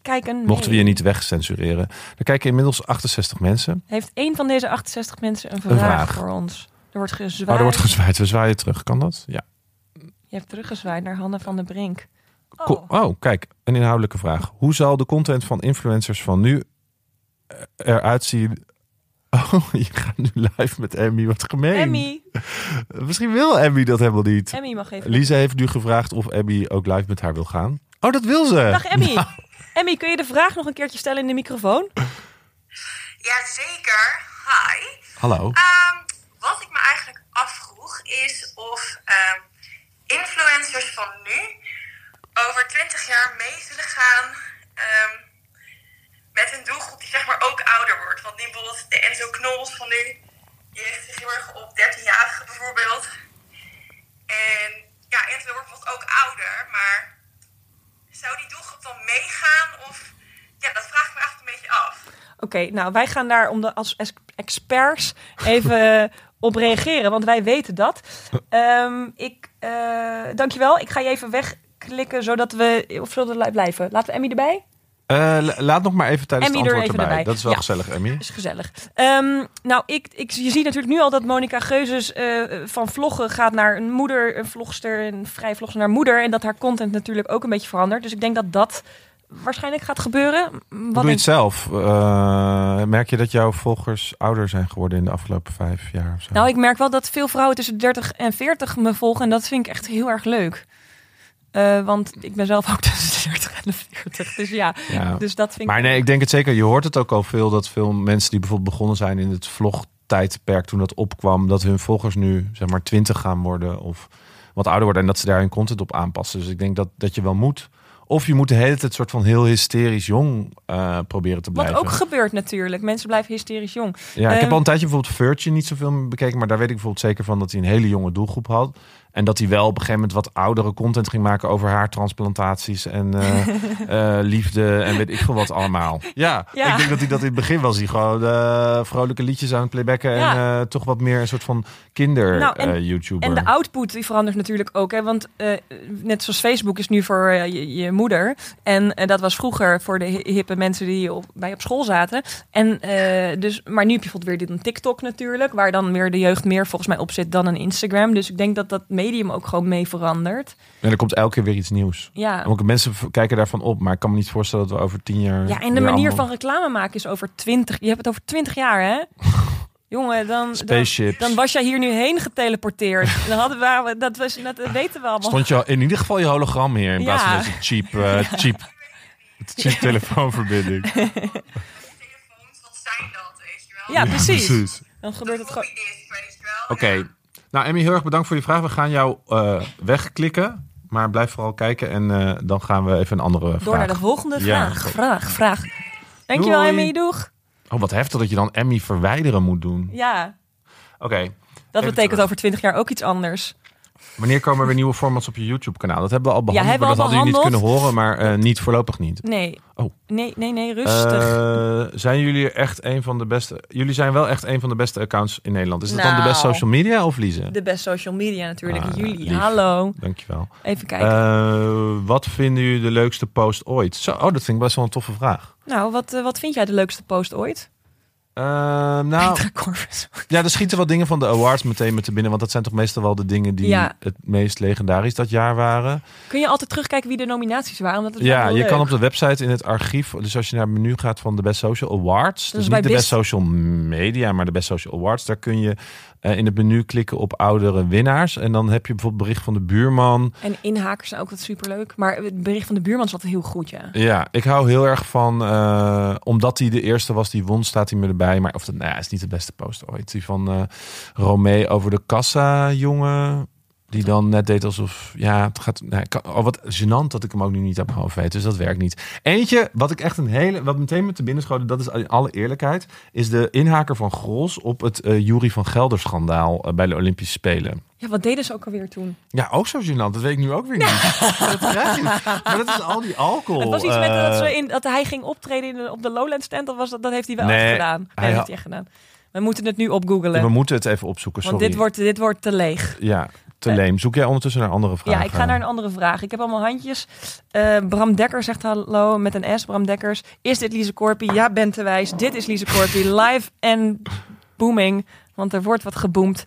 Kijk een
Mochten we je niet wegcensureren. Dan kijken inmiddels 68 mensen.
Heeft één van deze 68 mensen een vraag,
Een vraag.
voor ons? Er wordt gezwaaid.
Oh, er wordt gezwaaid. We zwaaien terug. Kan dat? Ja.
Je hebt teruggezwaaid naar Hanna van den Brink. Oh,
Ko- oh, kijk. Een inhoudelijke vraag. Hoe zal de content van influencers van nu eh, eruit zien... Oh, je gaat nu live met Emmy. Wat gemeen.
Emmy.
Misschien wil Emmy dat helemaal niet.
Emmy mag even.
Lisa heeft nu gevraagd of Abby ook live met haar wil gaan. Oh, dat wil ze.
Dag eh, Emmy. Emmy, kun je de vraag nog een keertje stellen in de microfoon?
Jazeker, hi.
Hallo.
Ehm, wat ik me eigenlijk afvroeg is of ehm, influencers van nu over 20 jaar mee zullen gaan ehm, met een doelgroep die zeg maar ook ouder wordt. Want nu bijvoorbeeld de Enzo Knols van nu, die richt zich heel erg op 13-jarigen bijvoorbeeld. En ja, Enzo wordt bijvoorbeeld ook ouder, maar zou die doelgroep dan meegaan of... Ja, dat vraag ik me eigenlijk een beetje af.
Oké, nou wij gaan daar om de, als ex- experts even op reageren, want wij weten dat. Ehm ik, eh, dankjewel, ik ga je even wegklikken zodat we. Of zullen we li- blijven? Laten we Emmy erbij?
Eh, la- laat nog maar even tijdens
Emmy
het
ah. er
antwoord erbij.
even erbij.
Dat is wel
Ja.
gezellig, Emmy.
Is gezellig. Ehm, nou, ik, ik, je ziet natuurlijk nu al dat Monica Geuzes eh, van vloggen gaat naar een moeder, een vlogster, een vrij vlogster naar moeder. En dat haar content natuurlijk ook een beetje verandert. Dus ik denk dat dat waarschijnlijk gaat gebeuren.
Hoe
Wat
doe je
denk
het zelf? Eh, merk je dat jouw volgers ouder zijn geworden in de afgelopen vijf jaar? Of zo?
Nou, ik merk wel dat veel vrouwen tussen 30 en 40 me volgen. En dat vind ik echt heel erg leuk. Eh, want ik ben zelf ook tussen de 30 en de 40. Dus ja,
Ja.
dus dat vind ik...
Maar nee, ik denk het zeker. Je hoort het ook al veel dat veel mensen die bijvoorbeeld begonnen zijn in het vlogtijdperk toen dat opkwam, dat hun volgers nu zeg maar twintig gaan worden of wat ouder worden en dat ze daar hun content op aanpassen. Dus ik denk dat, dat je wel moet. Of je moet de hele tijd soort van heel hysterisch jong eh, proberen te
Wat
blijven.
ook gebeurt natuurlijk. Mensen blijven hysterisch jong.
Ja, ik
Ehm,
heb al een tijdje bijvoorbeeld Virtue niet zoveel meer bekeken. Maar daar weet ik bijvoorbeeld zeker van dat hij een hele jonge doelgroep had. En dat hij wel op een gegeven moment wat oudere content ging maken over haartransplantaties en eh, eh, liefde en weet ik veel wat allemaal. Ja,
Ja.
ik denk dat hij dat in het begin was. Hij gewoon eh, vrolijke liedjes aan het playbacken en
Ja.
eh, toch wat meer een soort van kinder
Nou, en-
eh, YouTuber.
En de output die verandert natuurlijk ook. Hè? Want eh, net zoals Facebook is nu voor eh, je, je moeder. En eh, dat was vroeger voor de hi- hippe mensen die op, bij op school zaten. En, eh, dus, maar nu heb je bijvoorbeeld weer dit een TikTok natuurlijk. Waar dan weer de jeugd meer volgens mij op zit dan een Instagram. Dus ik denk dat dat medium ook gewoon mee verandert.
En er komt elke keer weer iets nieuws.
Ja.
En ook mensen v- kijken daarvan op, maar ik kan me niet voorstellen dat we over tien jaar.
Ja, en de
weer
manier
allemaal-
van reclame maken is over 20. Je hebt het over 20 jaar, hè? Jongen, dan, dan,
Spaceships.
dan was jij hier nu heen geteleporteerd. Dan hadden we, dat, was, dat weten we allemaal.
Stond je al- in ieder geval je hologram hier in plaats van
Oh. Ja.
deze cheap, eh, cheap, cheap telefoonverbinding.
telefoons, wat zijn dat, weet je wel?
Ja, precies. Dan gebeurt het gewoon.
Hobbydisk, weet je wel.
Oké. Nou, Emmy, heel erg bedankt voor je vraag. We gaan jou eh, wegklikken. Maar blijf vooral kijken en eh, dan gaan we even een andere
Door
vraag.
naar de volgende
Ja.
vraag. Vraag, vraag. Dankjewel,
Doei.
Emmy. Doeg.
Oh, wat heftig dat je dan Emmy verwijderen moet doen.
Ja,
Oké.
dat
Even
betekent
terug.
over twintig jaar ook iets anders.
Wanneer komen er weer nieuwe formats op je YouTube-kanaal? Dat hebben we al behandeld.
hebben
maar
we
dat
al
hadden jullie niet kunnen
behandeld.
horen, maar eh, niet voorlopig niet.
Nee.
Oh.
Nee, nee, nee, rustig.
Eh, zijn jullie echt een van de beste... Jullie zijn wel echt een van de beste accounts in Nederland. Is dat dan de
Nou.
best social media of Lize?
De best social media natuurlijk.
Ah,
jullie,
lief.
hallo.
Dankjewel.
Even kijken.
Eh wat vinden jullie de leukste post ooit? Zo, oh, dat vind ik best wel een toffe vraag.
nou, wat, eh, wat vind jij de leukste post ooit?
Ehm, nou,
Petra Corvus.
ja, er schieten wel dingen van de awards meteen met te binnen. Want dat zijn toch meestal wel de dingen die
Ja.
het meest legendarisch dat jaar waren.
Kun je altijd terugkijken wie de nominaties waren? Omdat het
Ja,
wel
je
leuk.
kan op de website in het archief. Dus als je naar het menu gaat van de Best Social Awards. Dus,
bij
niet de
Best-
Best Social Media, maar de Best Social Awards. Daar kun je eh, in het menu klikken op oudere winnaars. En dan heb je bijvoorbeeld bericht van de buurman.
En inhakers zijn ook wat superleuk. Maar het bericht van de buurman zat heel goed, ja.
Ja, ik hou heel erg van, eh, omdat hij de eerste was die won, staat hij me erbij. Maar of dat, nou ja, is niet de beste post ooit. Die van eh Romee over de kassa, jongen. Die dan net deed alsof, ja, het gaat. Nou, ik kan- oh, wat gênant dat ik hem ook nu niet uit mijn hoofd weet. Dus dat werkt niet. Eentje, wat ik echt een hele, wat meteen met de binnenschoten, dat is in alle eerlijkheid, is de inhaker van Gros op het eh Jury van Gelder schandaal eh, bij de Olympische Spelen.
Ja, wat deden ze ook alweer toen?
Ja, ook zo gênant. Dat weet ik nu ook weer niet. dat krijg je. Maar dat is al die alcohol.
het was iets met
eh,
dat, ze in, dat hij ging optreden in, de- op de Lowlands tent. Dat, was, dat, dat heeft hij wel
Nee,
echt gedaan. Nee,
hij
dat
had-
heeft hij echt gedaan. We moeten het nu opgoogelen.
We moeten het even opzoeken, sorry.
want dit wordt, dit wordt te leeg.
Ja, te leem. Zoek jij ondertussen naar andere vragen?
Ja, ik ga naar een andere vraag. Ik heb allemaal handjes. Eh, Bram Dekker zegt hallo met een S. Bram Dekkers. Is dit Lise Corpie? Ja, ben te wijs. Dit is Lise Corpie. Live en booming. Want er wordt wat geboomd.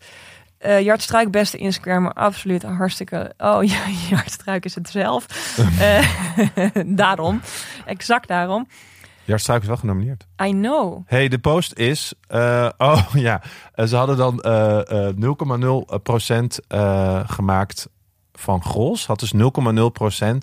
Eh Jart Struik, beste Instagrammer. Absoluut. een Hartstikke. Oh ja, Jart Struik is het zelf. Eh, daarom. Exact daarom.
Jart Eh, Struik is wel genomineerd.
I know.
hey, de post is... eh, oh ja, Eh, ze hadden dan eh, eh, 0,0% procent eh, gemaakt van Gros. Had dus 0,0%. eh,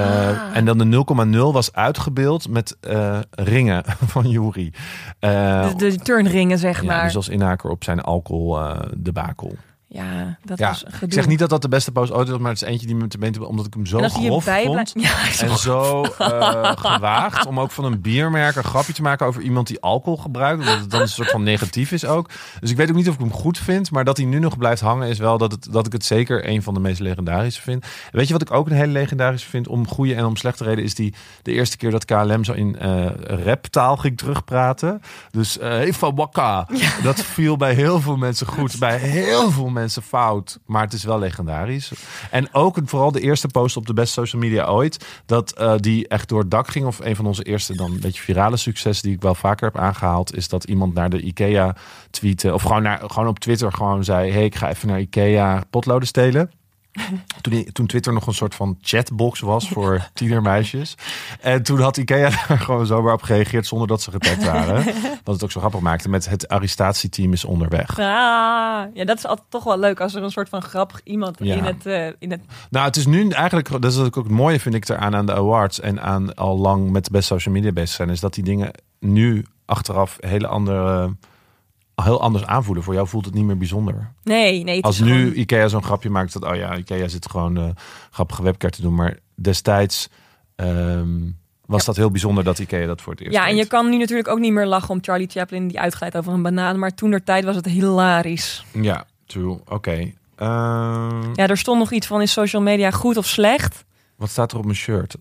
Ah.
En dan de 0,0 was uitgebeeld met eh, ringen van Jury. Eh,
De, de turnringen, zeg
ja,
Dus- maar.
dus als inhaker op zijn alcohol eh, debakel.
Ja, dat
Ja,
was een
ik
gedoe.
zeg niet dat dat de beste post ooit was, maar het is eentje die me te benen heeft, omdat ik hem zo
en als hij je
grof
bij
vond.
blijft. Ja, zo
En zo eh, gewaagd om ook van een biermerk een grapje te maken over iemand die alcohol gebruikt. Omdat het dan een soort van negatief is ook. Dus ik weet ook niet of ik hem goed vind. Maar dat hij nu nog blijft hangen is wel dat, het, dat ik het zeker een van de meest legendarische vind. En weet je wat ik ook een hele legendarische vind? Om goede en om slechte reden is die de eerste keer dat KLM zo in eh raptaal ging terugpraten. Dus eh hey, van wakka. Dat viel bij heel veel mensen goed. Bij heel veel mensen fout. Maar het is wel legendarisch. En ook vooral de eerste post op de best social media ooit. Dat eh, die echt door het dak ging. Of een van onze eerste dan een beetje virale successen die ik wel vaker heb aangehaald. Is dat iemand naar de Ikea tweette. Of gewoon, naar, gewoon op Twitter gewoon zei. hey, ik ga even naar Ikea potloden stelen. Toen, toen Twitter nog een soort van chatbox was voor tienermeisjes. En toen had Ikea daar gewoon zomaar op gereageerd zonder dat ze getagd waren. Wat het ook zo grappig maakte met het arrestatieteam is onderweg.
Ah, ja, dat is altijd toch wel leuk als er een soort van grappig iemand
Ja.
in, het, eh, in het.
Nou, het is nu eigenlijk, dat is ook het mooie vind ik eraan aan de awards en aan al lang met de best social media bezig zijn, is dat die dingen nu achteraf hele andere, heel anders aanvoelen. Voor jou voelt het niet meer bijzonder.
Nee, nee. Het
Als
is
nu
gewoon-
Ikea zo'n grapje maakt dat, oh ja, Ikea zit gewoon eh, grappige webcare te doen. Maar destijds ehm, was dat heel bijzonder dat Ikea dat voor het eerst
Ja, en je
deed.
kan nu natuurlijk ook niet meer lachen om Charlie Chaplin die uitglijdt over een banaan. Maar toen der tijd was het hilarisch.
Ja, true. Oké. Ehm,
Ja, er stond nog iets van: is social media goed of slecht?
Wat staat er op mijn shirt?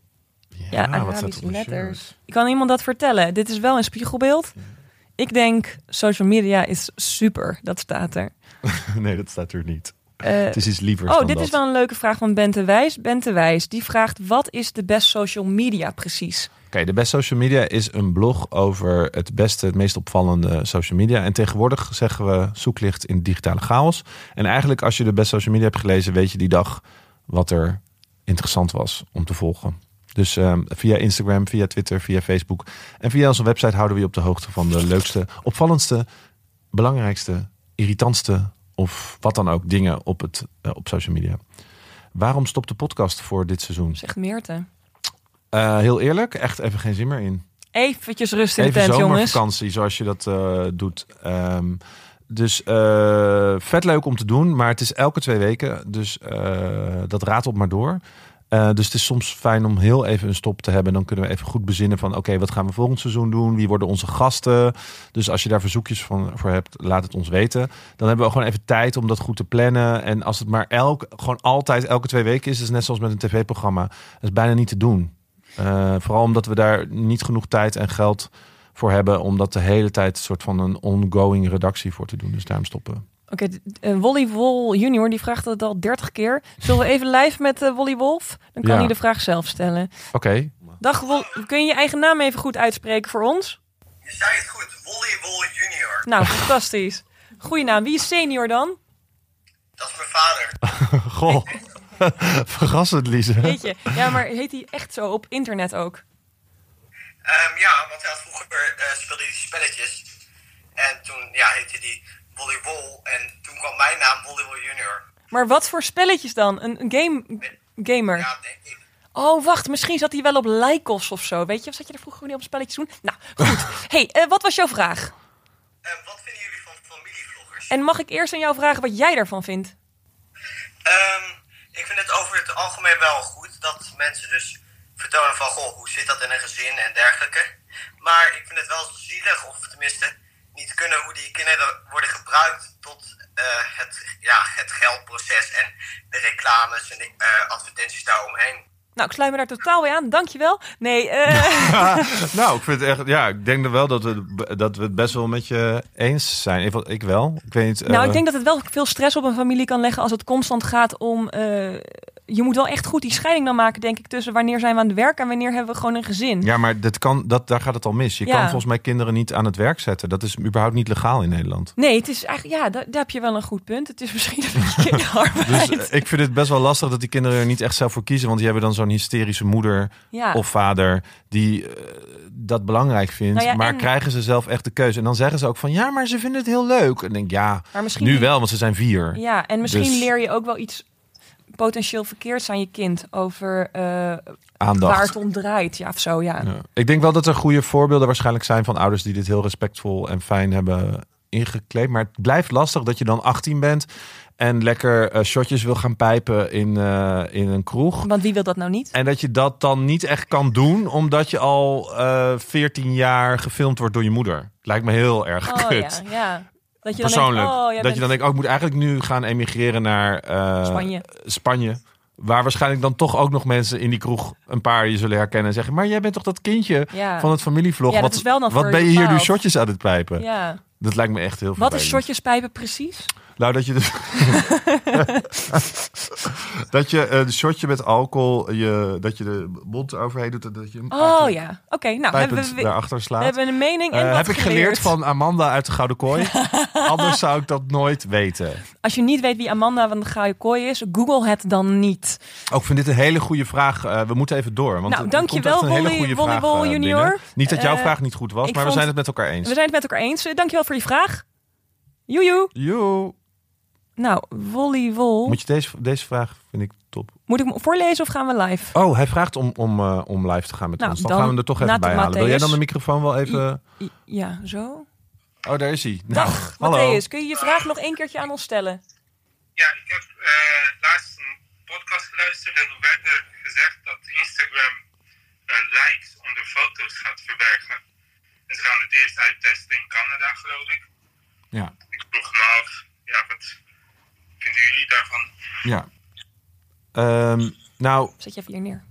Ja,
wat staat er
Arabische
op mijn
letters.
shirt?
Ik kan iemand dat vertellen. Dit is wel een spiegelbeeld. Ik denk: social media is super. Dat staat er.
nee, dat staat er niet.
Eh,
Het is iets liever
Oh, dit is wel een leuke vraag van Bente Wijs. Bente Wijs, die vraagt: wat is de best social media precies?
Oké, de best social media is een blog over het beste, het meest opvallende social media. En tegenwoordig zeggen we zoeklicht in digitale chaos. En eigenlijk als je de best social media hebt gelezen, weet je die dag wat er interessant was om te volgen. Dus ehm, via Instagram, via Twitter, via Facebook en via onze website houden we je op de hoogte van de leukste, opvallendste, belangrijkste, irritantste of wat dan ook dingen op, het, eh, op social media. Waarom stopt de podcast voor dit seizoen?
Zegt Meerte.
Eh, heel eerlijk, echt even geen zin meer in.
Eventjes rust in de
Even
tent, jongens.
zomervakantie, zoals je dat eh, doet. Ehm, dus eh, vet leuk om te doen, maar het is elke twee weken. Dus eh, dat raadt op maar door. Eh, dus het is soms fijn om heel even een stop te hebben. Dan kunnen we even goed bezinnen van... oké, wat gaan we volgend seizoen doen? Wie worden onze gasten? Dus als je daar verzoekjes van, voor hebt, laat het ons weten. Dan hebben we gewoon even tijd om dat goed te plannen. En als het maar elk, gewoon altijd elke twee weken is... is het net zoals met een tv-programma. Dat is bijna niet te doen. Eh, vooral omdat we daar niet genoeg tijd en geld voor hebben om dat de hele tijd een soort van een ongoing redactie voor te doen. Dus daarom stoppen.
Oké, d- eh, Wolly Wol junior die vraagt het al 30 keer. Zullen we even live met eh, Wolly Wolf? Dan kan
Ja.
hij de vraag zelf stellen.
Oké.
Dag Wol, kun je je eigen naam even goed uitspreken voor ons?
Je zei het goed, Volleyball Junior.
Nou, fantastisch. Goeie naam. Wie is senior dan?
Dat is mijn vader.
Goh. Verrassend, Lise.
Weet je. Ja, maar heet hij echt zo op internet ook?
Ehm, ja, want hij had vroeger eh, speelde hij spelletjes. En toen ja, heette die Volleyball. En toen kwam mijn naam Volleyball Junior.
Maar wat voor spelletjes dan? Een, een game, gamer.
Ja, denk ik.
Oh, wacht. Misschien zat hij wel op Lycos of zo. Weet je, of zat je er vroeger niet op spelletjes doen? Nou, goed. hey, eh, wat was jouw vraag?
Ehm, wat vinden jullie van familievloggers?
En mag ik eerst aan jou vragen wat jij daarvan vindt?
Ehm, ik vind het over het algemeen wel goed dat mensen dus vertonen van... Goh, hoe zit dat in een gezin en dergelijke. Maar ik vind het wel zielig, of tenminste niet kunnen... hoe die kinderen worden gebruikt tot eh, het, ja, het geldproces... en de reclames en de eh, advertenties daaromheen.
Nou, ik sluit me daar totaal bij aan. Dankjewel. Nee, eh
nou, ik vind het echt. Ja, ik denk er wel dat we, dat we het best wel met je eens zijn. In ieder geval, Ik wel. Ik weet niet.
nou,
eh,
ik denk dat het wel veel stress op een familie kan leggen als het constant gaat om... eh, je moet wel echt goed die scheiding dan maken, denk ik, tussen wanneer zijn we aan het werk en wanneer hebben we gewoon een gezin.
Ja, maar dat kan, dat, daar gaat het al mis. Je
Ja.
kan volgens mij kinderen niet aan het werk zetten. Dat is überhaupt niet legaal in Nederland.
Nee, het is eigenlijk, ja, daar, daar heb je wel een goed punt. Het is misschien een beetje kinderarbeid.
Dus eh, ik vind het best wel lastig dat die kinderen er niet echt zelf voor kiezen. Want die hebben dan zo'n hysterische moeder
ja.
of vader die eh, dat belangrijk vindt.
Nou ja,
maar
en-
krijgen ze zelf echt de keuze. En dan zeggen ze ook van ja, maar ze vinden het heel leuk. En ik denk ja,
maar misschien
nu wel, want ze zijn vier.
Ja, en misschien
Dus-
leer je ook wel iets potentieel verkeerds aan je kind over eh, waar
Aandacht.
het om draait. Ja, of zo, ja.
Ja. Ik denk wel dat er goede voorbeelden waarschijnlijk zijn van ouders die dit heel respectvol en fijn hebben ingekleed. Maar het blijft lastig dat je dan 18 bent en lekker eh, shotjes wil gaan pijpen in, eh, in een kroeg.
Want wie wil dat nou niet?
En dat je dat dan niet echt kan doen, omdat je al eh 14 jaar gefilmd wordt door je moeder. Lijkt me heel erg
Oh
kut.
ja, ja. Dat je dan
Persoonlijk.
Denkt, oh, jij
dat
bent
je dan denkt, oh, ik moet eigenlijk nu gaan emigreren naar eh,
Spanje.
Spanje. Waar waarschijnlijk dan toch ook nog mensen in die kroeg een paar je zullen herkennen en zeggen: Maar jij bent toch dat kindje
Ja.
van het familievlog?
Ja, dat
wat
is wel dan
wat
voor
ben je
je
hier nu
bepaald."
shotjes aan het pijpen?
Ja.
Dat lijkt me echt heel veel.
Wat is shotjes pijpen precies?
Nou, dat je dus. dat je een shotje met alcohol, je, dat je de mond overheen doet en dat je hem
Oh
eigenlijk
ja. Oké, nou hebben
pijpend
we, we
daarachter slaat.
hebben een mening en
Eh,
wat
heb ik geleerd. van Amanda uit de Gouden Kooi? Anders zou ik dat nooit weten.
Als je niet weet wie Amanda van de Gouden Kooi is, google het dan niet.
Ook ik vind dit een hele goede vraag. Eh, we moeten even door. Want
Nou,
er
dankjewel,
komt echt een hele
volley-
goede vraag,
volleyball
eh,
junior.
binnen. Niet dat jouw
Eh,
vraag niet goed was,
ik
maar we
vond-
zijn het met elkaar
We
eens.
zijn het met elkaar eens. Eh, Dankjewel voor je vraag. Joejoe.
Joe.
Nou, volleyball.
Moet
Moet,
je deze, deze vraag, vind ik top.
ik hem voorlezen of gaan we live?
Oh, hij vraagt om, om, eh, om live te gaan met
Nou,
ons. Dan,
dan
gaan we hem er toch even
laat het
bij halen. Wil
Matthäus.
jij dan de microfoon wel even...
I- Ja, zo.
Oh, daar is hij. Nou,
Dag,
hallo.
Matthäus. Kun je je vraag nog één keertje aan ons stellen?
Ja, ik heb eh, laatst een podcast geluisterd en toen werd er gezegd dat Instagram eh, likes onder foto's gaat verbergen. En ze gaan het eerst uittesten in Canada, geloof ik.
Ja,
Ik vroeg me af, ja, wat vinden jullie daarvan?
ja. Ehm, nou,
Zet je even hier neer.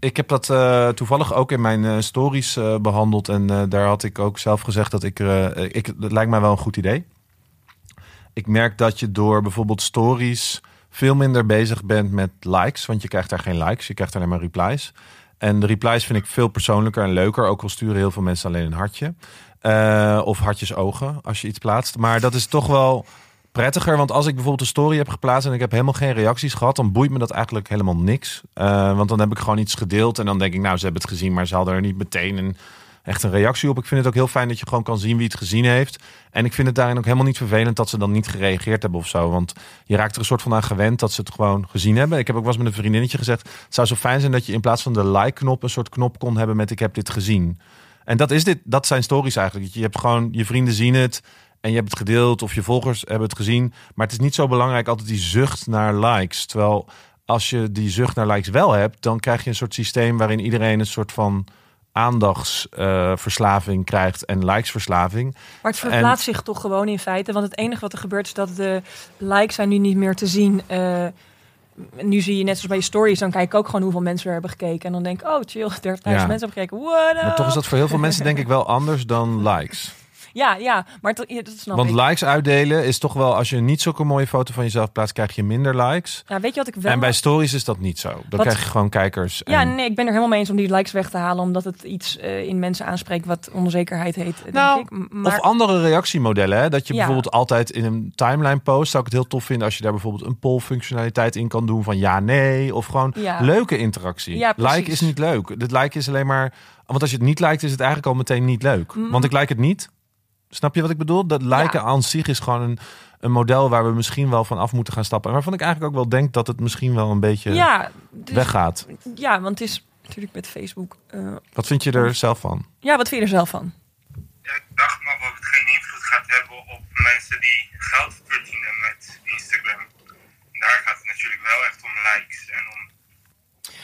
Ik heb dat eh, toevallig ook in mijn eh, stories eh, behandeld. En eh, daar had ik ook zelf gezegd dat ik, eh, ik... Dat lijkt mij wel een goed idee. Ik merk dat je door bijvoorbeeld stories veel minder bezig bent met likes. Want je krijgt daar geen likes, je krijgt alleen maar replies. En de replies vind ik veel persoonlijker en leuker. Ook al sturen heel veel mensen alleen een hartje. Eh, of hartjes ogen als je iets plaatst. Maar dat is toch wel prettiger. Want als ik bijvoorbeeld een story heb geplaatst en ik heb helemaal geen reacties gehad, dan boeit me dat eigenlijk helemaal niks. Eh, want dan heb ik gewoon iets gedeeld en dan denk ik, nou, ze hebben het gezien, maar ze hadden er niet meteen een, echt een reactie op. Ik vind het ook heel fijn dat je gewoon kan zien wie het gezien heeft. En ik vind het daarin ook helemaal niet vervelend dat ze dan niet gereageerd hebben of zo. Want je raakt er een soort van aan gewend dat ze het gewoon gezien hebben. Ik heb ook wel eens met een vriendinnetje gezegd, het zou zo fijn zijn dat je in plaats van de like-knop een soort knop kon hebben met ik heb dit gezien. En dat, is dit, dat zijn stories eigenlijk. Je hebt gewoon, je vrienden zien het en je hebt het gedeeld of je volgers hebben het gezien. Maar het is niet zo belangrijk altijd die zucht naar likes. Terwijl als je die zucht naar likes wel hebt, dan krijg je een soort systeem waarin iedereen een soort van aandachtsverslaving krijgt en likesverslaving.
Maar het verplaatst zich toch gewoon in feite. Want het enige wat er gebeurt is dat de likes zijn nu niet meer te zien. Eh, nu zie je net zoals bij je stories, dan kijk ik ook gewoon hoeveel mensen er hebben gekeken. En dan denk ik, oh chill, 30.000
Ja.
mensen hebben gekeken. What
Maar toch is
up?
dat voor heel veel mensen denk ik wel anders dan likes.
Ja, ja, maar dat, ja, dat snap
Want
ik.
likes uitdelen is toch wel, als je niet zulke mooie foto van jezelf plaatst, krijg je minder likes.
Ja, weet je wat ik wel...
En bij stories is dat niet zo. Dan
Wat-
krijg je gewoon kijkers. En...
Ja, nee, ik ben er helemaal mee eens om die likes weg te halen. Omdat het iets eh, in mensen aanspreekt wat onzekerheid heet, eh, denk
Nou,
ik. M- Maar,
Of andere reactiemodellen. Hè? Dat je
Ja.
bijvoorbeeld altijd in een timeline post. Zou ik het heel tof vinden als je daar bijvoorbeeld een poll functionaliteit in kan doen. Van ja, nee. Of gewoon
Ja.
leuke interactie.
Ja, precies.
like is niet leuk. Het like is alleen maar... Want als je het niet liked is het eigenlijk al meteen niet leuk. Want ik like het niet. Snap je wat ik bedoel? Dat liken aan zich is gewoon een, een model waar we misschien wel van af moeten gaan stappen. En waarvan ik eigenlijk ook wel denk dat het misschien wel een beetje
ja, dus-
weggaat.
ja, want het is natuurlijk met Facebook... eh,
Wat vind je er zelf van?
ja, wat vind je er zelf van?
Ja, ik dacht maar dat het geen invloed gaat hebben op mensen die geld verdienen met Instagram. Daar gaat het natuurlijk wel echt om likes en om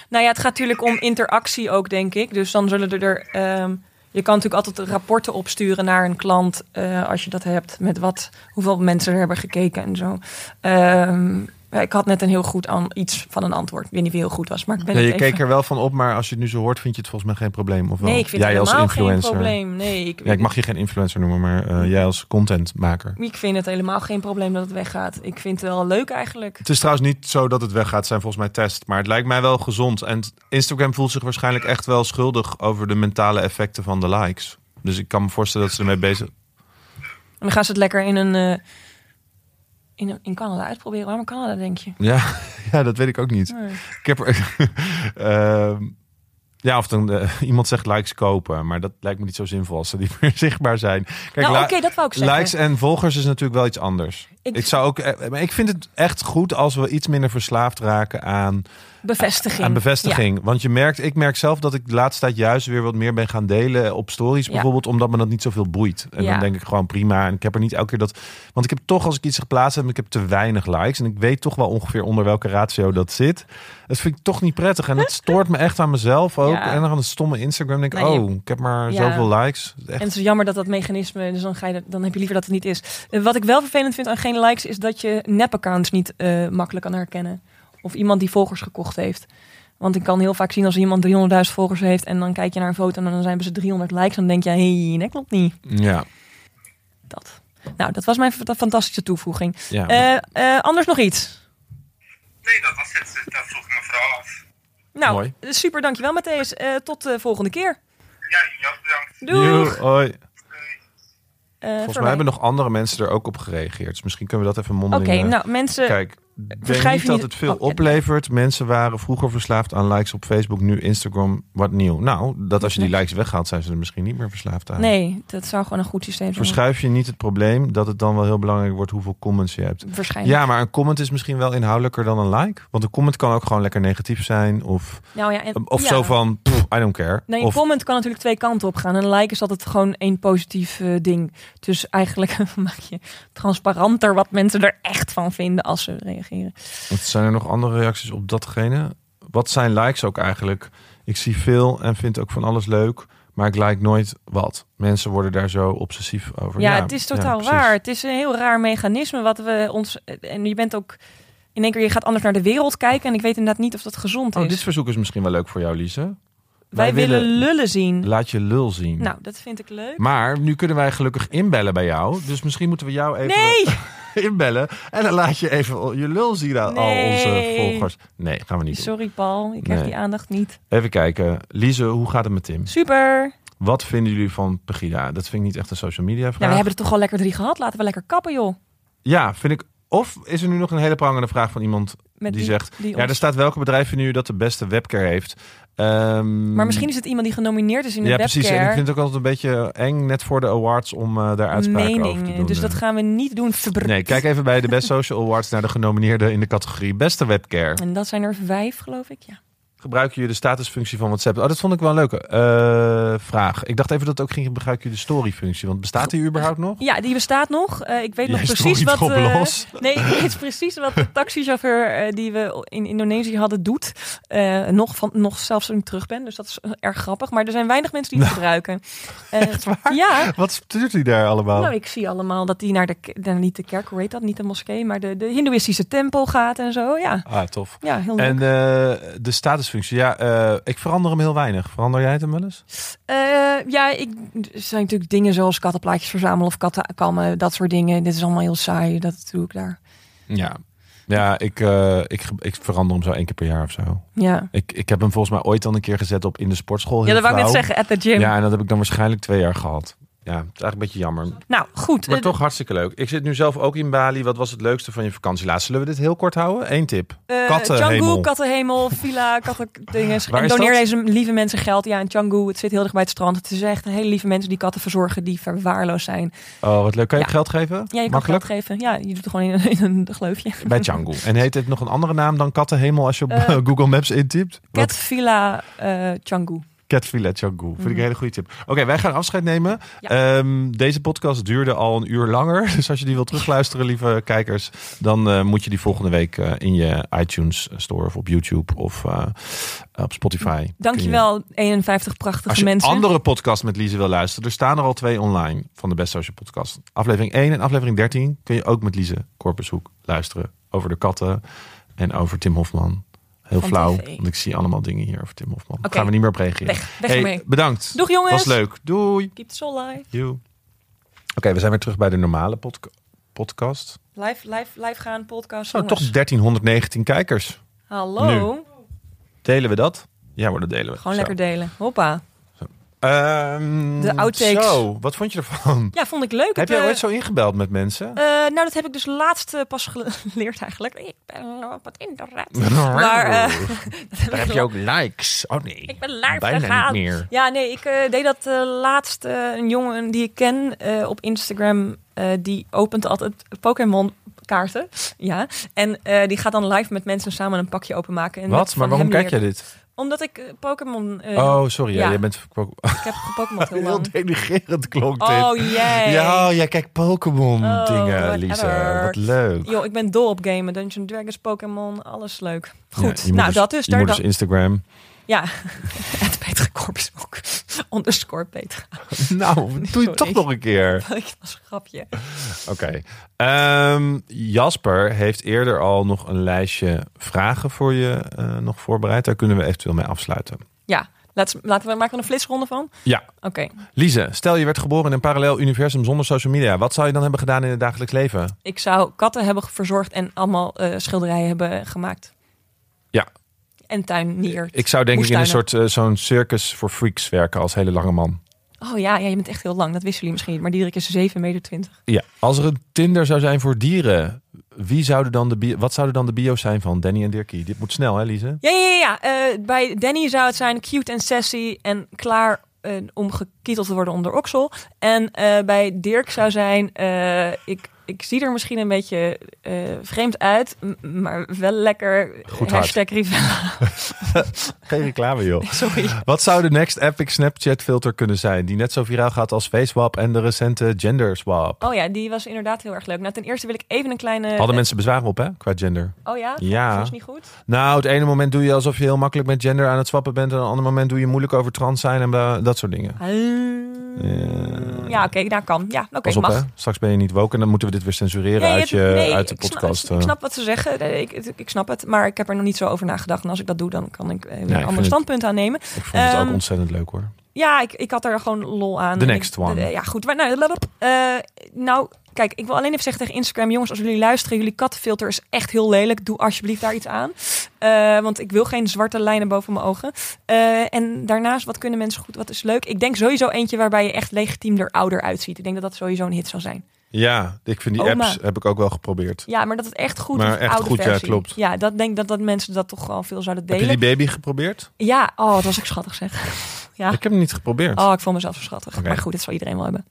Nou ja, het gaat natuurlijk om interactie ook, denk ik. Dus dan zullen er. er, ehm, je kan natuurlijk altijd rapporten opsturen naar een klant. eh, als je dat hebt. Met wat, hoeveel mensen er hebben gekeken en zo. Ehm, ja, ik had net een heel goed aan, iets van een antwoord. Ik weet niet wie heel goed was. Maar ik ben
Ja,
het
je
even-
keek er wel van op, maar als je het nu zo hoort, vind je het volgens mij geen probleem. Of wel?
Nee, ik vind
Jij
het
als
helemaal geen
influencer.
probleem. Nee, ik,
Ja, ik mag je geen influencer noemen, maar eh, jij als contentmaker.
ik vind het helemaal geen probleem dat het weggaat. Ik vind het wel leuk eigenlijk.
Het is trouwens niet zo dat het weggaat, zijn volgens mij test. Maar het lijkt mij wel gezond. En Instagram voelt zich waarschijnlijk echt wel schuldig over de mentale effecten van de likes. Dus ik kan me voorstellen dat ze ermee bezig
En dan gaan ze het lekker in een. eh, in, een- in Canada uitproberen. Waarom Canada, denk je?
Ja, ja dat weet ik ook niet.
Nee.
Ik heb er, Ehm, ja, of dan eh, iemand zegt likes kopen, maar dat lijkt me niet zo zinvol als ze niet meer zichtbaar zijn. Kijk,
Nou,
li-
oké, dat wou ik zeggen.
Likes en volgers is natuurlijk wel iets anders. Ik,
Ik-
zou ook, eh, maar ik vind het echt goed als we iets minder verslaafd raken aan
Bevestiging.
aan
Ja.
bevestiging. Want je merkt, ik merk zelf dat ik de laatste tijd juist weer wat meer ben gaan delen op stories
Ja.
bijvoorbeeld, omdat me dat niet zoveel boeit. En
Ja.
dan denk ik gewoon prima. En ik heb er niet elke keer dat. Want ik heb toch als ik iets geplaatst heb, ik heb te weinig likes. En ik weet toch wel ongeveer onder welke ratio dat zit. Dat vind ik toch niet prettig. En dat stoort me echt aan mezelf ook.
Ja.
En dan aan het stomme Instagram denk ik,
Nou, je-
oh, ik heb maar
Ja.
zoveel likes. Echt.
En het is jammer dat dat mechanisme, dus dan, ga je, dat- dan heb je liever dat het niet is. Eh, Wat ik wel vervelend vind aan geen likes, is dat je nep-accounts niet eh, makkelijk kan herkennen. Of iemand die volgers gekocht heeft. Want ik kan heel vaak zien als iemand 300.000 volgers heeft en dan kijk je naar een foto en dan zijn ze 300 likes. Dan denk je, hé, hey, dat klopt niet.
Ja.
Dat. Nou, dat was mijn f- fantastische toevoeging.
Ja.
Eh, eh, anders nog iets?
Nee, dat was het. Dat vroeg ik me vooral af.
Nou,
Mooi.
eh, super, dankjewel Matthäus. Eh, tot de volgende keer.
Ja, jullie ook bedankt.
Doeg!
Joe, hoi.
Eh,
Volgens
voor
mij
mij.
hebben nog andere mensen er ook op gereageerd. Dus misschien kunnen we dat even
Oké,
mondeling... eh,
nou mensen...
Kijk, ik denk
verschrijf
niet
je
dat
niet-
het veel
Oh, ja.
oplevert. Mensen waren vroeger verslaafd aan likes op Facebook, nu Instagram, wat nieuw. Nou, dat als je die likes weghaalt, zijn ze er misschien niet meer verslaafd aan.
Nee, dat zou gewoon een goed systeem zijn.
Verschuif je niet het probleem dat het dan wel heel belangrijk wordt hoeveel comments je hebt.
Waarschijnlijk.
Ja, maar een comment is misschien wel inhoudelijker dan een like. Want een comment kan ook gewoon lekker negatief zijn. Of,
Nou ja, en,
of
ja.
zo van, pff, I don't care.
Nou, je
of,
comment kan natuurlijk twee kanten op gaan. En een like is altijd gewoon één positief eh, ding. Dus eigenlijk maak je transparanter wat mensen er echt van vinden als ze reageren.
wat zijn er nog andere reacties op datgene? Wat zijn likes ook eigenlijk? Ik zie veel en vind ook van alles leuk. Maar ik like nooit wat. Mensen worden daar zo obsessief over.
Ja, het is totaal
Oh precies. Oh,
waar. Het is een heel raar mechanisme wat we ons. eh, En je bent ook. In één keer, je gaat anders naar de wereld kijken. En ik weet inderdaad niet of dat gezond
Oh,
is.
dit verzoek is misschien wel leuk voor jou, Lise. Wij,
Wij willen lullen zien.
Laat je lul zien.
Hm. Nou, dat vind ik leuk.
Maar nu kunnen wij gelukkig inbellen bij jou. Dus misschien moeten we jou even Oh,
Nee!
inbellen. En dan laat je even je lul zien aan al onze
Nee.
volgers. Nee, gaan we niet doen.
Sorry, Paul. Ik krijg
Nee.
die aandacht niet.
Even kijken. Lise, hoe gaat het met Tim?
Super. Nou,
Wat vinden jullie van Pegida? Dat vind ik niet echt een social media
Nou,
vraag.
we hebben er toch al lekker drie gehad. Laten we lekker kappen, joh.
Ja, vind ik. Of is er nu nog een hele prangende vraag van iemand
Met
die, zegt... ja,
die ons-
er staat welke bedrijf vinden jullie dat de beste webcare heeft? Ehm,
Maar misschien is het iemand die genomineerd is in de
Ja,
webcare.
precies. En ik vind het ook altijd een beetje eng, net voor de awards, om eh, daar uitspraken over te
mening.
doen. eh.
Dus dat gaan we niet doen. Verbr-
Nee, kijk even bij de Best Social Awards naar de genomineerden in de categorie Beste Webcare.
En dat zijn er vijf, geloof ik. Ja.
Gebruiken jullie de statusfunctie van WhatsApp? Oh, dat vond ik wel een leuke eh, vraag. Ik dacht even dat het ook ging gebruiken jullie de storyfunctie. Want bestaat die überhaupt nog?
ja, die bestaat nog. Eh, ik weet
Jij
nog
stond
precies
niet
wat.
op
eh,
los.
nee, ik weet precies wat de taxichauffeur eh, die we in Indonesië hadden doet. Eh, nog, van, nog zelfs toen ik terug ben. Dus dat is eh, erg grappig. Maar er zijn weinig mensen die het
Nou,
gebruiken. Eh, Ja.
Wat stuurt hij daar allemaal?
Nou, ik zie allemaal dat die naar de, ke- nou, niet de kerk, hoe heet dat? Niet de moskee, maar de, de hindoeïstische tempel gaat en zo. Ja,
Ah, tof.
ja heel leuk.
En eh, de status bonusfunctie. Ja, eh, ik verander hem heel weinig. Verander jij het hem wel eens?
Eh, ja, ik, er zijn natuurlijk dingen zoals kattenplaatjes verzamelen of katten kammen, dat soort dingen. Dit is allemaal heel saai, dat doe ik daar.
Ja. Ja, ik, eh, ik, ik verander hem zo één keer per jaar of zo.
Ja,
Ik, ik heb hem volgens mij ooit dan een keer gezet op in de sportschool.
ja
Heel
dat wou ik net
flauw.
zeggen, at the gym.
Ja, en dat heb ik dan waarschijnlijk twee jaar gehad. Ja, het is eigenlijk een beetje jammer.
Nou, goed.
Maar
Eh,
toch hartstikke leuk. Ik zit nu zelf ook in Bali. Wat was het leukste van je vakantie? Laatst zullen we dit heel kort houden. Eén tip.
eh, Canggu,
Kattenhemel.
kattenhemel, villa, kattendingen.
Waar
En
is
doneer
dat?
deze lieve mensen geld. Ja, in Canggu, het zit heel dicht bij het strand. Het is echt hele lieve mensen die katten verzorgen, die verwaarloosd zijn.
Oh, wat leuk. Kan je
Ja.
geld geven?
Ja, je kan
Makkelijk?
geld geven. Ja, je doet het gewoon in een, in een gleufje.
Bij Canggu. En heet het nog een andere naam dan Kattenhemel als je op
Eh.
Google Maps intypt?
Cat
Wat?
Villa eh Canggu.
Cat Villa Canggu. Vind ik een hele goede tip. Oké, wij gaan afscheid nemen.
Mm. Ja.
Ehm, deze podcast duurde al een uur langer. Dus als je die wilt terugluisteren, lieve kijkers, dan eh, moet je die volgende week eh, in je iTunes Store of op YouTube of eh, op Spotify. Kun je-
Dankjewel, 51 prachtige
Als je
mensen.
andere podcast met Lise wil luisteren, er staan er al twee online van de Best Social Podcast. Aflevering 1 en aflevering 13 kun je ook met Lise Korpershoek luisteren. Over de katten en over Tim Hofman. Heel
Van
flauw,
TV.
want ik zie allemaal dingen hier over Tim Hofman. Daar
Oké.
Gaan we niet meer op reageren.
Weg, weg ermee.
bedankt.
Doeg, jongens.
Was leuk. Doei.
Keep the soul live.
Joe. Oké, we zijn weer terug bij de normale podca- podcast.
Live, live, live gaan, podcast.
Zo, toch
jongens.
1319 kijkers.
Hallo.
Delen we dat? Ja, maar dat delen we.
Gewoon
Zo.
lekker delen. Hoppa.
Ehm,
De outtakes.
Zo, wat vond je ervan?
Ja, vond ik leuk.
Heb
Het,
jij
eh,
ooit zo ingebeld met mensen?
eh, nou, dat heb ik dus laatst eh, pas geleerd eigenlijk. Ik ben op het internet. Maar eh,
oh. Daar heb je ook likes. Oh nee.
ik ben live
Bijna
gegaan.
niet meer.
Ja, nee, ik eh, deed dat eh, laatst. eh, een jongen die ik ken eh, op Instagram, eh, die opent altijd Pokémon kaarten. Ja. En eh, die gaat dan live met mensen samen een pakje openmaken. En dat
Wat?
van
Maar waarom
hem
kijk jij
leer-
dit?
Omdat ik eh, Pokémon... eh,
Oh, sorry. Ja.
ja.
Jij bent
Ik heb Pokémon heel
heel
lang.
denigerend klonk dit.
Oh, jee.
Ja, oh, jij kijkt Pokémon
Oh,
dingen,
whatever.
Lisa. Wat leuk.
Yo, ik ben dol op gamen. Dungeons and Dragons, Pokémon, alles leuk.
Ja,
Goed,
je moet
nou dat dus.
Je
Daar
moet
dan,
dus Instagram.
Ja, het Petra Korpsbroek. Underscore Petra.
Nou, dat doe je
Sorry.
toch nog een keer.
Ik was een grapje.
Oké. Ehm, Jasper heeft eerder al nog een lijstje vragen voor je eh, nog voorbereid. Daar kunnen we eventueel mee afsluiten.
Ja, laten we, laten we maken we een flitsronde van.
Ja,
Oké.
Lize, stel je werd geboren in een parallel universum zonder social media. Wat zou je dan hebben gedaan in het dagelijks leven?
Ik zou katten hebben verzorgd en allemaal eh, schilderijen hebben gemaakt.
Ja,
En tuinier.
ik zou denk ik in een
Moestuinen.
soort eh, zo'n circus voor freaks werken als hele lange man.
Oh ja, ja, je bent echt heel lang. Dat wisten jullie misschien niet. Maar Diederik is 7,20 meter.
Ja, als er een Tinder zou zijn voor dieren, wie zouden dan de bio, wat zouden dan de bio's zijn van Danny en Dirkie? Dit moet snel, hè, Lize?
Ja, ja, ja. ja. Eh, bij Danny zou het zijn cute en sassy en klaar eh, om gekieteld te worden onder oksel. En eh, bij Dirk zou zijn, eh, ik, ik zie er misschien een beetje eh, vreemd uit, m- maar wel lekker. eh,
Goed hart.
Hashtag Rivella.
Geen reclame, joh.
Sorry.
Wat zou de next epic Snapchat filter kunnen zijn die net zo viraal gaat als FaceWap en de recente GenderSwap?
Oh ja, die was inderdaad heel erg leuk. Nou, ten eerste wil ik even een kleine...
Hadden mensen bezwaar op, hè, qua gender?
Oh ja?
Ja.
Dat is niet goed.
Nou, het ene moment doe je alsof je heel makkelijk met gender aan het swappen bent. En het andere moment doe je moeilijk over trans zijn en bla- dat soort dingen.
Ah.
Eh,
Ja, oké, daar kan. Ja, oké,
Pas op,
mag.
hè? Straks ben je niet woke en dan moeten we dit weer censureren
Nee,
uit, je,
het- nee,
uit de
ik snap-
podcast. eh.
Ik snap, wat ze zeggen, Nee, ik, ik, ik snap het. Maar ik heb er nog niet zo over nagedacht. En als ik dat doe, dan kan ik eh, weer
ik
een
vind
ander
het-
standpunt aannemen.
Ik vond het ook
Ehm,
ontzettend leuk, hoor.
Ja, ik, ik had er gewoon lol aan.
The
En ik-
next one.
eh, ja, goed. Maar, nou, laat op. Eh, nou, kijk, ik wil alleen even zeggen tegen Instagram... jongens, als jullie luisteren, jullie kattenfilter is echt heel lelijk. Doe alsjeblieft daar iets aan. Eh, want ik wil geen zwarte lijnen boven mijn ogen. Eh, en daarnaast, wat kunnen mensen goed, wat is leuk? Ik denk sowieso eentje waarbij je echt legitiem er ouder uitziet. Ik denk dat dat sowieso een hit zal zijn.
Ja, ik vind die
Oma.
apps heb ik ook wel geprobeerd.
Ja, maar dat het echt goed
Maar
is.
echt
oude
goed, ja,
versie.
klopt.
Ja, dat denk dat, dat mensen dat toch wel veel zouden
Heb je
delen.
die baby geprobeerd?
Ja, oh, dat was ik schattig zeg. Ja.
Ik heb hem niet geprobeerd.
Oh, ik vond mezelf zo schattig.
Oké.
Maar goed, dat zal iedereen wel hebben.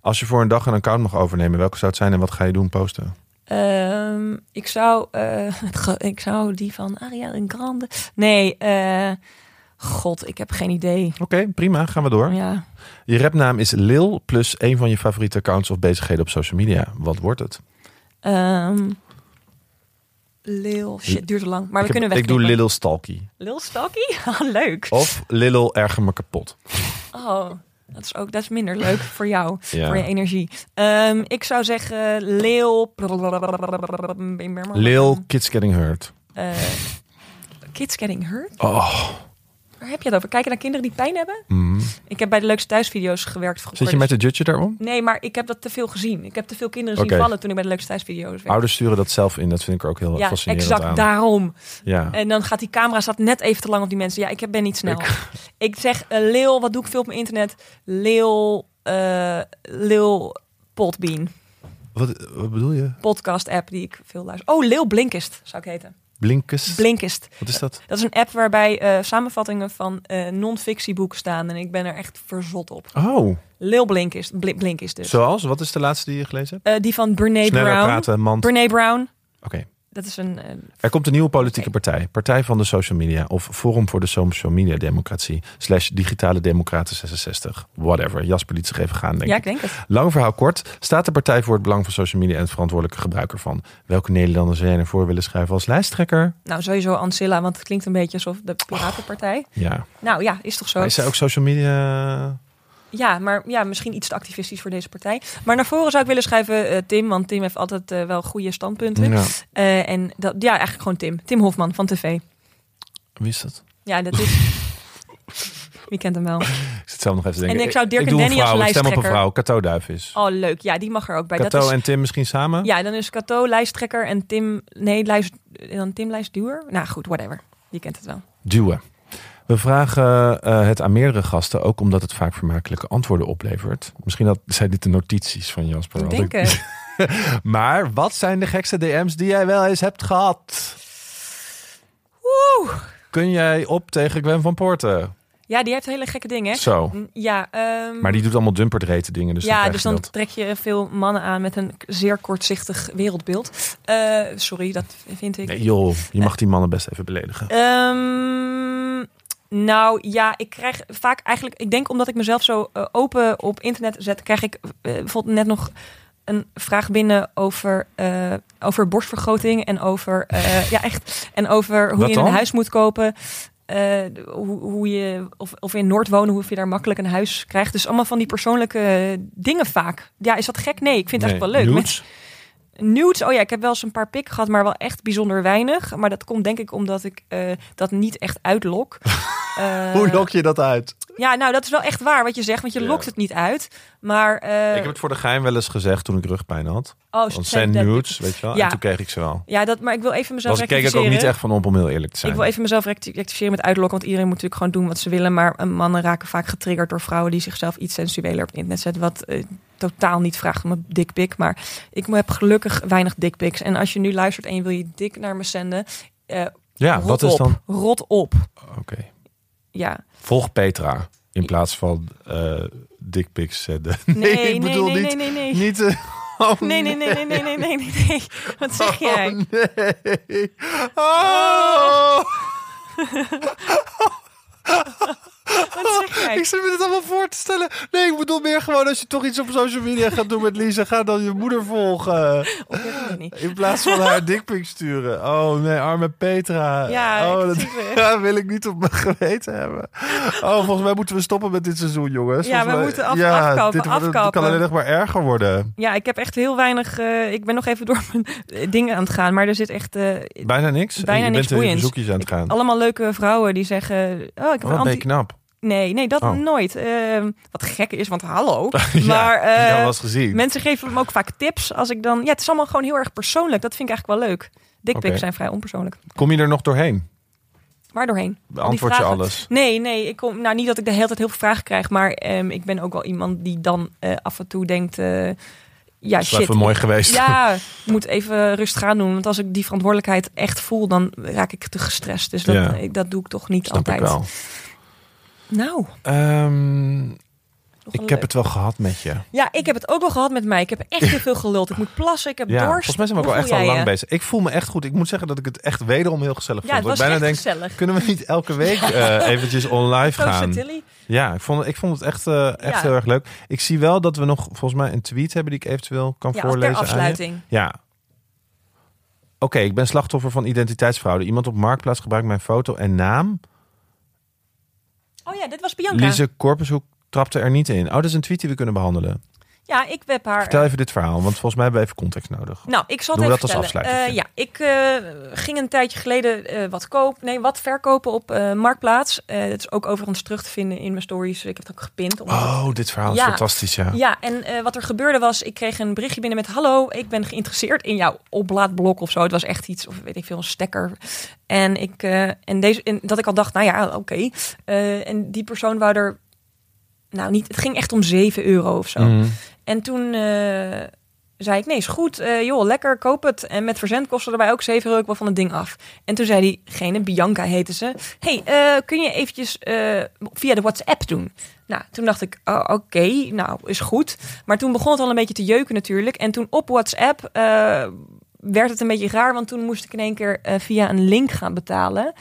Als je voor een dag een account mag overnemen, welke zou het zijn en wat ga je doen? Posten.
Ehm, ik zou, eh, het ge- ik zou die van Ariana Grande. Nee, eh, god, ik heb geen idee.
Oké, prima. Gaan we door.
Ja,
Je rapnaam is Lil plus een van je favoriete accounts of bezigheden op social media. Wat wordt het?
ehm Lil, shit, duurt te lang. Maar we
ik, heb-
kunnen
ik doe
wegknippen.
Lil Stalky.
Lil Stalky? Ah, leuk.
Of Lil erger me kapot.
Oh, dat is ook dat is minder leuk voor jou,
Ja.
voor je energie. Ehm, ik zou zeggen leeuw.
Lil kids getting hurt.
Eh, Kids Getting Hurt?
Oh,
Waar heb je het over? Kijken naar kinderen die pijn hebben? Ik heb bij de leukste thuisvideo's gewerkt vroeger.
Mhm. zit je met de judge daarom?
Nee, maar ik heb dat te veel gezien. Ik heb te veel kinderen zien
Oké.
vallen toen ik bij de leukste thuisvideo's werkte.
Ouders sturen dat zelf in. Dat vind ik er ook heel
ja,
fascinerend
exact
aan.
daarom.
Ja.
En dan gaat die camera staat net even te lang op die mensen. Ja, ik heb- ben niet snel. Ik, zeg, eh, Lil, wat doe ik veel op mijn internet? Lil, eh Lil Potbean,
Wat, wat bedoel je?
podcast app die ik veel luister. Oh, Lil Blinkist zou ik heten.
Blinkers?
Blinkist.
wat is dat?
Dat is een app waarbij eh, samenvattingen van eh non-fictieboeken staan. En ik ben er echt verzot op.
Oh,
Lil Blinkist, Bli- Blinkist dus.
zoals? Wat is de laatste die je gelezen hebt?
Eh, die van Brene
Sneller
Brown.
praten, man. Oké.
Brene Brown, dat is een... eh,
Er komt een nieuwe politieke partij. Partij van de Social Media of Forum voor de Social Media Democratie. Slash Digitale Democraten 66. Whatever. Jasper liet zich even gaan, denk
ja,
ik.
ik denk het.
Lang verhaal kort. Staat de partij voor het belang van social media en het verantwoordelijke gebruik ervan? Welke Nederlanders zou jij ervoor willen schrijven als lijsttrekker?
Nou, sowieso Ancilla, want het klinkt een beetje alsof de Piratenpartij.
Ja.
Nou ja, is toch zo.
Maar is zij ook social media...
Ja, maar ja, misschien iets te activistisch voor deze partij. Maar naar voren zou ik willen schrijven eh, Tim, want Tim heeft altijd eh, wel goede standpunten.
Ja.
Eh, en dat, ja, eigenlijk gewoon Tim. Tim Hofman van TV.
Wie is dat?
Ja, dat is... Wie kent hem wel?
Ik zit zelf nog even te denken.
En ik zou Dirk
doe
en
een
Danny als
vrouw. Ik stem op een
lijsttrekker.
vrouw. Cato Duif is.
Oh, leuk. Ja, die mag er ook bij.
Cato
dat is,
en Tim misschien samen?
Ja, dan is Cato lijsttrekker en Tim... Nee, lijst, en dan Tim lijstduur. Nou goed, whatever. Je kent het wel.
duwen. We vragen eh, het aan meerdere gasten, ook omdat het vaak vermakelijke antwoorden oplevert. Misschien had, zijn dit de notities van Jasper.
Ik
want
denk eh,
ik-
het.
Maar wat zijn de gekste DM's die jij wel eens hebt gehad?
Oeh.
Kun jij op tegen Gwen van Poorten?
Ja, die heeft hele gekke dingen. hè?
Zo.
Mm, Ja, ehm,
Maar die doet allemaal dumperdreten dingen. Dus
ja,
dan
dus
krijg
dan
je dat.
trek je veel mannen aan met een k- zeer kortzichtig wereldbeeld. Eh, sorry, dat vind ik.
Nee joh, je mag die mannen best even beledigen.
Ehm, nou ja, ik krijg vaak eigenlijk, ik denk omdat ik mezelf zo eh, open op internet zet, krijg ik eh, bijvoorbeeld net nog een vraag binnen over, eh, over borstvergroting en over, eh, ja echt, en over hoe
Wat
je een
dan?
huis moet kopen. eh, hoe, hoe je, of, of in Noord wonen, hoe je daar makkelijk een huis krijgt. Dus allemaal van die persoonlijke dingen vaak. Ja, is dat gek? Nee, ik vind het
Nee,
echt wel leuk.
nudes?
Nudes, oh ja, ik heb wel eens een paar pik gehad, maar wel echt bijzonder weinig. Maar dat komt denk ik omdat ik eh, dat niet echt uitlok. Eh,
Hoe lok je dat uit?
Ja, nou dat is wel echt waar wat je zegt, want je
Ja.
lokt het niet uit. Maar eh,
ik heb het voor de geheim wel eens gezegd toen ik rugpijn had.
oh,
Want
send
zijn
that
nudes,
pic.
weet je wel.
Ja.
En toen kreeg ik ze wel.
Ja, dat, maar ik wil even mezelf
Dus ik keek ik ook niet
rectificeren.
echt van op om heel eerlijk te zijn.
Ik wil even mezelf recti- rectificeren met uitlokken, want iedereen moet natuurlijk gewoon doen wat ze willen. Maar eh, mannen raken vaak getriggerd door vrouwen die zichzelf iets sensueler op het internet zetten. Wat eh, totaal niet vraagt om een dikpik. Maar ik heb gelukkig weinig dikpiks. En als je nu luistert en je wil je dik naar me zenden, eh,
ja,
rot
wat is
op.
dan...
Rot op.
Oké.
Ja.
Volg Petra in plaats van eh dickpics zenden.
Nee, nee,
ik bedoel
nee,
niet.
nee, nee, nee.
niet eh, oh,
Nee, nee, nee, nee, nee, nee, nee, nee, nee. Wat zeg jij?
Oh, nee. Oh.
Wat zeg jij?
Ik zit me dit allemaal voor te stellen. Nee, ik bedoel meer gewoon als je toch iets op social media gaat doen met Lisa, ga dan je moeder volgen.
Oh, dat weet ik niet.
In plaats van haar dickpics sturen. Oh nee, arme Petra.
Ja,
oh,
ik
dat
zie het.
ja, wil ik niet op mijn geweten hebben. Oh, volgens mij moeten we stoppen met dit seizoen, jongens.
Ja,
Volgens
we
mij-
moeten af-
ja,
afkappen,
Dit wordt- het
afkappen.
kan alleen nog maar erger worden.
Ja, ik heb echt heel weinig. eh, ik ben nog even door mijn eh, dingen aan het gaan, maar er zit echt. eh,
Bijna niks. En
Bijna
je
niks
bent er in
boeiends.
bezoekjes aan het gaan.
allemaal leuke vrouwen die zeggen. Oh, ik heb
Oh,
een
Wat ben
anti.
je knap.
Nee, nee, dat
Oh.
nooit. Ehm, wat gek is, want hallo.
Ja,
maar eh,
dat was gezien.
mensen geven me ook vaak tips als ik dan. Ja, het is allemaal gewoon heel erg persoonlijk. Dat vind ik eigenlijk wel leuk. Dikpiks
Oké.
zijn vrij onpersoonlijk.
Kom je er nog
Ah,
doorheen?
Waar doorheen?
Beantwoord je
vragen.
alles?
Nee, nee. Ik kom, nou, niet dat ik de hele tijd heel veel vragen krijg. Maar ehm, ik ben ook wel iemand die dan eh, af en toe denkt... eh, ja,
is wel
shit.
even mooi geweest.
Ja, ik moet even rustig gaan doen. Want als ik die verantwoordelijkheid echt voel, dan raak ik te gestrest. Dus dat,
Ja.
ik, dat doe ik toch niet
Snap
altijd.
ik wel.
Nou,
Ehm,
nog een
ik heb
leuk.
het wel gehad met je.
Ja, ik heb het ook wel gehad met mij. Ik heb echt heel veel geluld. Ik moet plassen, ik heb
Ja,
dorst.
volgens mij zijn we ook
Hoe
wel echt
voel
al
jij
lang
je?
bezig. Ik voel me echt goed. Ik moet zeggen dat ik het echt wederom heel gezellig
Ja,
vond.
het
Want
was
ik
echt
bijna denk,
gezellig.
kunnen we niet elke week eh, eventjes online
Proost,
gaan?
Tilly.
Ja, ik vond, ik vond het echt, eh, echt
Ja.
heel erg leuk. Ik zie wel dat we nog volgens mij een tweet hebben die ik eventueel kan
Ja, als
voorlezen.
ter
aan je.
afsluiting.
Ja. Oké, ik ben slachtoffer van identiteitsfraude. Iemand op Marktplaats gebruikt mijn foto en naam.
Oh ja, dit was Bianca.
Lise Korpershoek trapte er niet in. Oh, dat is een tweet die we kunnen behandelen.
Ja, ik heb haar. eh,
Vertel even dit verhaal, want volgens mij hebben we even context nodig.
Nou, ik zal het
Doen we
even
dat als
vertellen.
afsluitertje?
Eh, ja, ik eh, ging een tijdje geleden eh, wat koop, nee, wat verkopen op eh, Marktplaats. Eh dat is ook overigens terug te vinden in mijn stories. Ik heb het ook gepind. omdat het-
Oh, dit verhaal is
Ja.
fantastisch, ja.
Ja, en eh, wat er gebeurde was, ik kreeg een berichtje binnen met... Hallo, ik ben geïnteresseerd in jouw oplaadblok of zo. Het was echt iets, of weet ik veel, een stekker. En, ik, eh, en, deze, en dat ik al dacht, nou ja, oké. Eh, en die persoon wou er... Nou, niet, het ging echt om 7 euro of zo.
Mhm.
En toen eh, zei ik, nee, is goed. eh, joh, lekker, koop het. En met verzendkosten erbij ook 7 euro, ik wil van het ding af. En toen zei diegene, Bianca heette ze... hey, eh, kun je eventjes eh, via de WhatsApp doen? Nou, toen dacht ik, oh, oké, nou, is goed. Maar toen begon het al een beetje te jeuken natuurlijk. En toen op WhatsApp eh, werd het een beetje raar... want toen moest ik in één keer eh, via een link gaan betalen...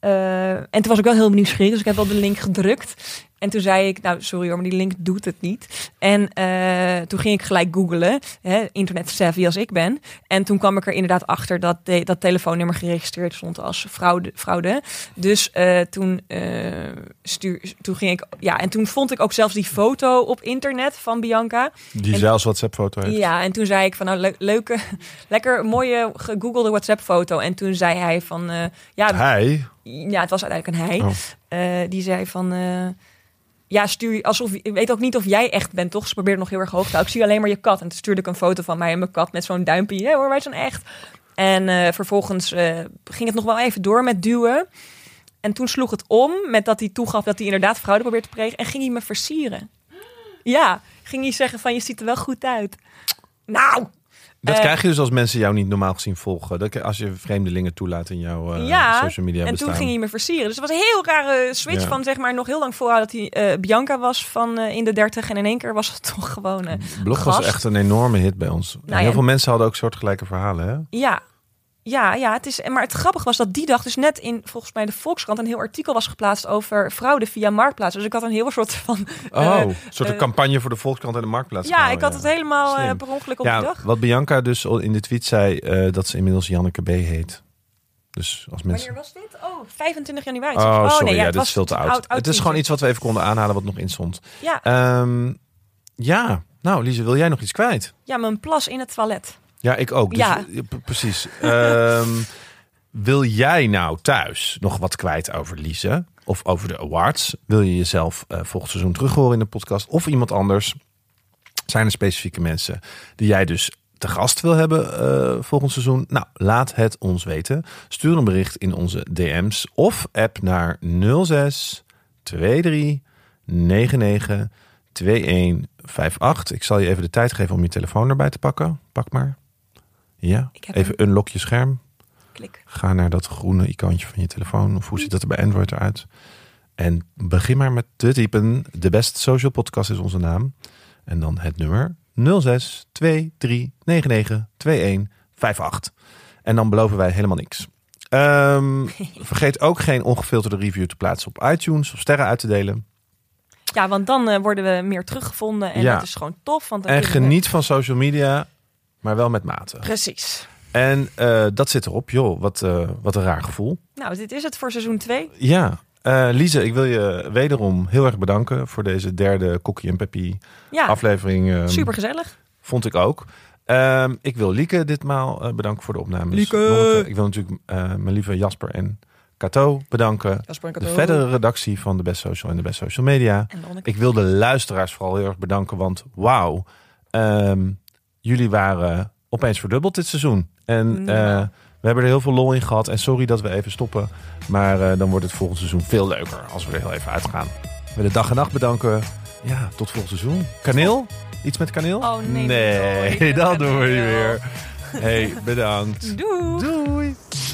Eh, en toen was ik wel heel nieuwsgierig, dus ik heb wel de link gedrukt. En toen zei ik, nou sorry hoor, maar die link doet het niet. En eh, toen ging ik gelijk googlen, hè, internet savvy als ik ben. En toen kwam ik er inderdaad achter dat de- dat telefoonnummer geregistreerd stond als fraude. fraude. Dus eh, toen, eh, stuur, toen ging ik, ja, en toen vond ik ook zelfs die foto op internet van Bianca.
Die
En-
zelfs WhatsApp-foto heeft.
Ja, en toen zei ik van nou le- leuke, lekker mooie gegoogelde WhatsApp foto. En toen zei hij van eh, ja,
Hij,
ja, het was uiteindelijk een hij.
Oh.
Eh, die zei van... eh, ja, stuur je alsof... Ik weet ook niet of jij echt bent, toch? Ze probeerde nog heel erg hoog te houden. Ik zie alleen maar je kat. En toen stuurde ik een foto van mij en mijn kat met zo'n duimpje. Ja hoor, wij zijn echt. En eh, vervolgens eh, ging het nog wel even door met duwen. En toen sloeg het om met dat hij toegaf dat hij inderdaad fraude probeerde te plegen. En ging hij me versieren. Ja, ging hij zeggen van je ziet er wel goed uit. Nou,
dat
Eh,
krijg je dus als mensen jou niet normaal gezien volgen. Dat, als je vreemdelingen toelaat in jouw eh,
Ja,
social media
en
bestaan.
toen ging hij me versieren. Dus het was een heel rare switch
Ja.
van zeg maar nog heel lang voorhouden dat hij eh, Bianca was van eh, in de 30 en in één keer was het toch gewoon. eh,
Blog was
gast. Nou
echt een enorme hit bij ons. En
ja,
heel
en-
veel mensen hadden ook soortgelijke verhalen, hè?
ja. Ja, ja, het is. en Maar het grappige was dat die dag dus net in volgens mij de Volkskrant een heel artikel was geplaatst over fraude via marktplaats. Dus ik had een heel soort van.
Oh,
eh,
een soort
eh,
campagne voor de Volkskrant en de Marktplaats.
ja,
gehouden,
ik had het helemaal eh,
Slim.
per ongeluk op
Ja,
die dag.
wat Bianca dus al in de tweet zei, eh, dat ze inmiddels Janneke B. heet. Dus als mensen...
Wanneer was dit? Oh, 25 januari.
Oh, sorry, ja,
het
dit
was
is veel te oud. het is gewoon
tweetje.
iets wat we even konden aanhalen wat nog in stond.
Ja,
Ehm, ja, nou Lise, wil jij nog iets kwijt?
ja, mijn plas in het toilet.
Ja, ik ook. Dus,
Ja.
ja, pre- Precies. Ehm, wil jij nou thuis nog wat kwijt over Lise? Of over de awards? Wil je jezelf eh, volgend seizoen terug horen in de podcast? Of iemand anders? Zijn er specifieke mensen die jij dus te gast wil hebben eh volgend seizoen? Nou, laat het ons weten. Stuur een bericht in onze DM's of app naar 06 23 99 2158. Ik zal je even de tijd geven om je telefoon erbij te pakken. Pak maar. Ja,
Ik heb
even unlock je scherm.
Klik.
Ga naar dat groene icoontje van je telefoon. Of
Mhm.
hoe ziet dat er bij Android eruit? En begin maar met te typen. De Best Social Podcast is onze naam. En dan het nummer 06 23 99 2158. En dan beloven wij helemaal niks. Ehm, vergeet ook geen ongefilterde review te plaatsen op iTunes of sterren uit te delen.
Ja, want dan eh, worden we meer teruggevonden. En
Ja.
dat is gewoon tof. Want dan
En
kunnen we-
geniet van social media, maar wel met mate.
Precies.
En eh, dat zit erop. Joh, wat, eh, wat een raar gevoel.
Nou, dit is het voor seizoen 2.
Ja. Eh Lise, ik wil je wederom heel erg bedanken voor deze derde Cookie en Peppy
Ja,
aflevering. ehm,
Ah, super gezellig.
Vond ik ook. Ehm, ik wil Lieke ditmaal eh, bedanken voor de opnames.
Lieke!
Nonneke. Ik wil natuurlijk eh, mijn lieve Jasper en Cato bedanken. De verdere redactie van de Best Social en de Best Social Media.
En Lonneke.
Ik wil de luisteraars vooral heel erg bedanken, want wauw, ehm, jullie waren opeens verdubbeld dit seizoen. En
Niet
eh,
normaal.
we hebben er heel veel lol in gehad. En sorry dat we even stoppen, maar eh, dan wordt het volgend seizoen veel leuker als we er heel even uitgaan. We willen dag en nacht bedanken. Ja, tot volgend seizoen. Kaneel? Iets met kaneel?
Oh, nee,
Nee,
sorry.
dat doen we niet
Kaneel.
meer. hey, bedankt.
Doei.
Doei.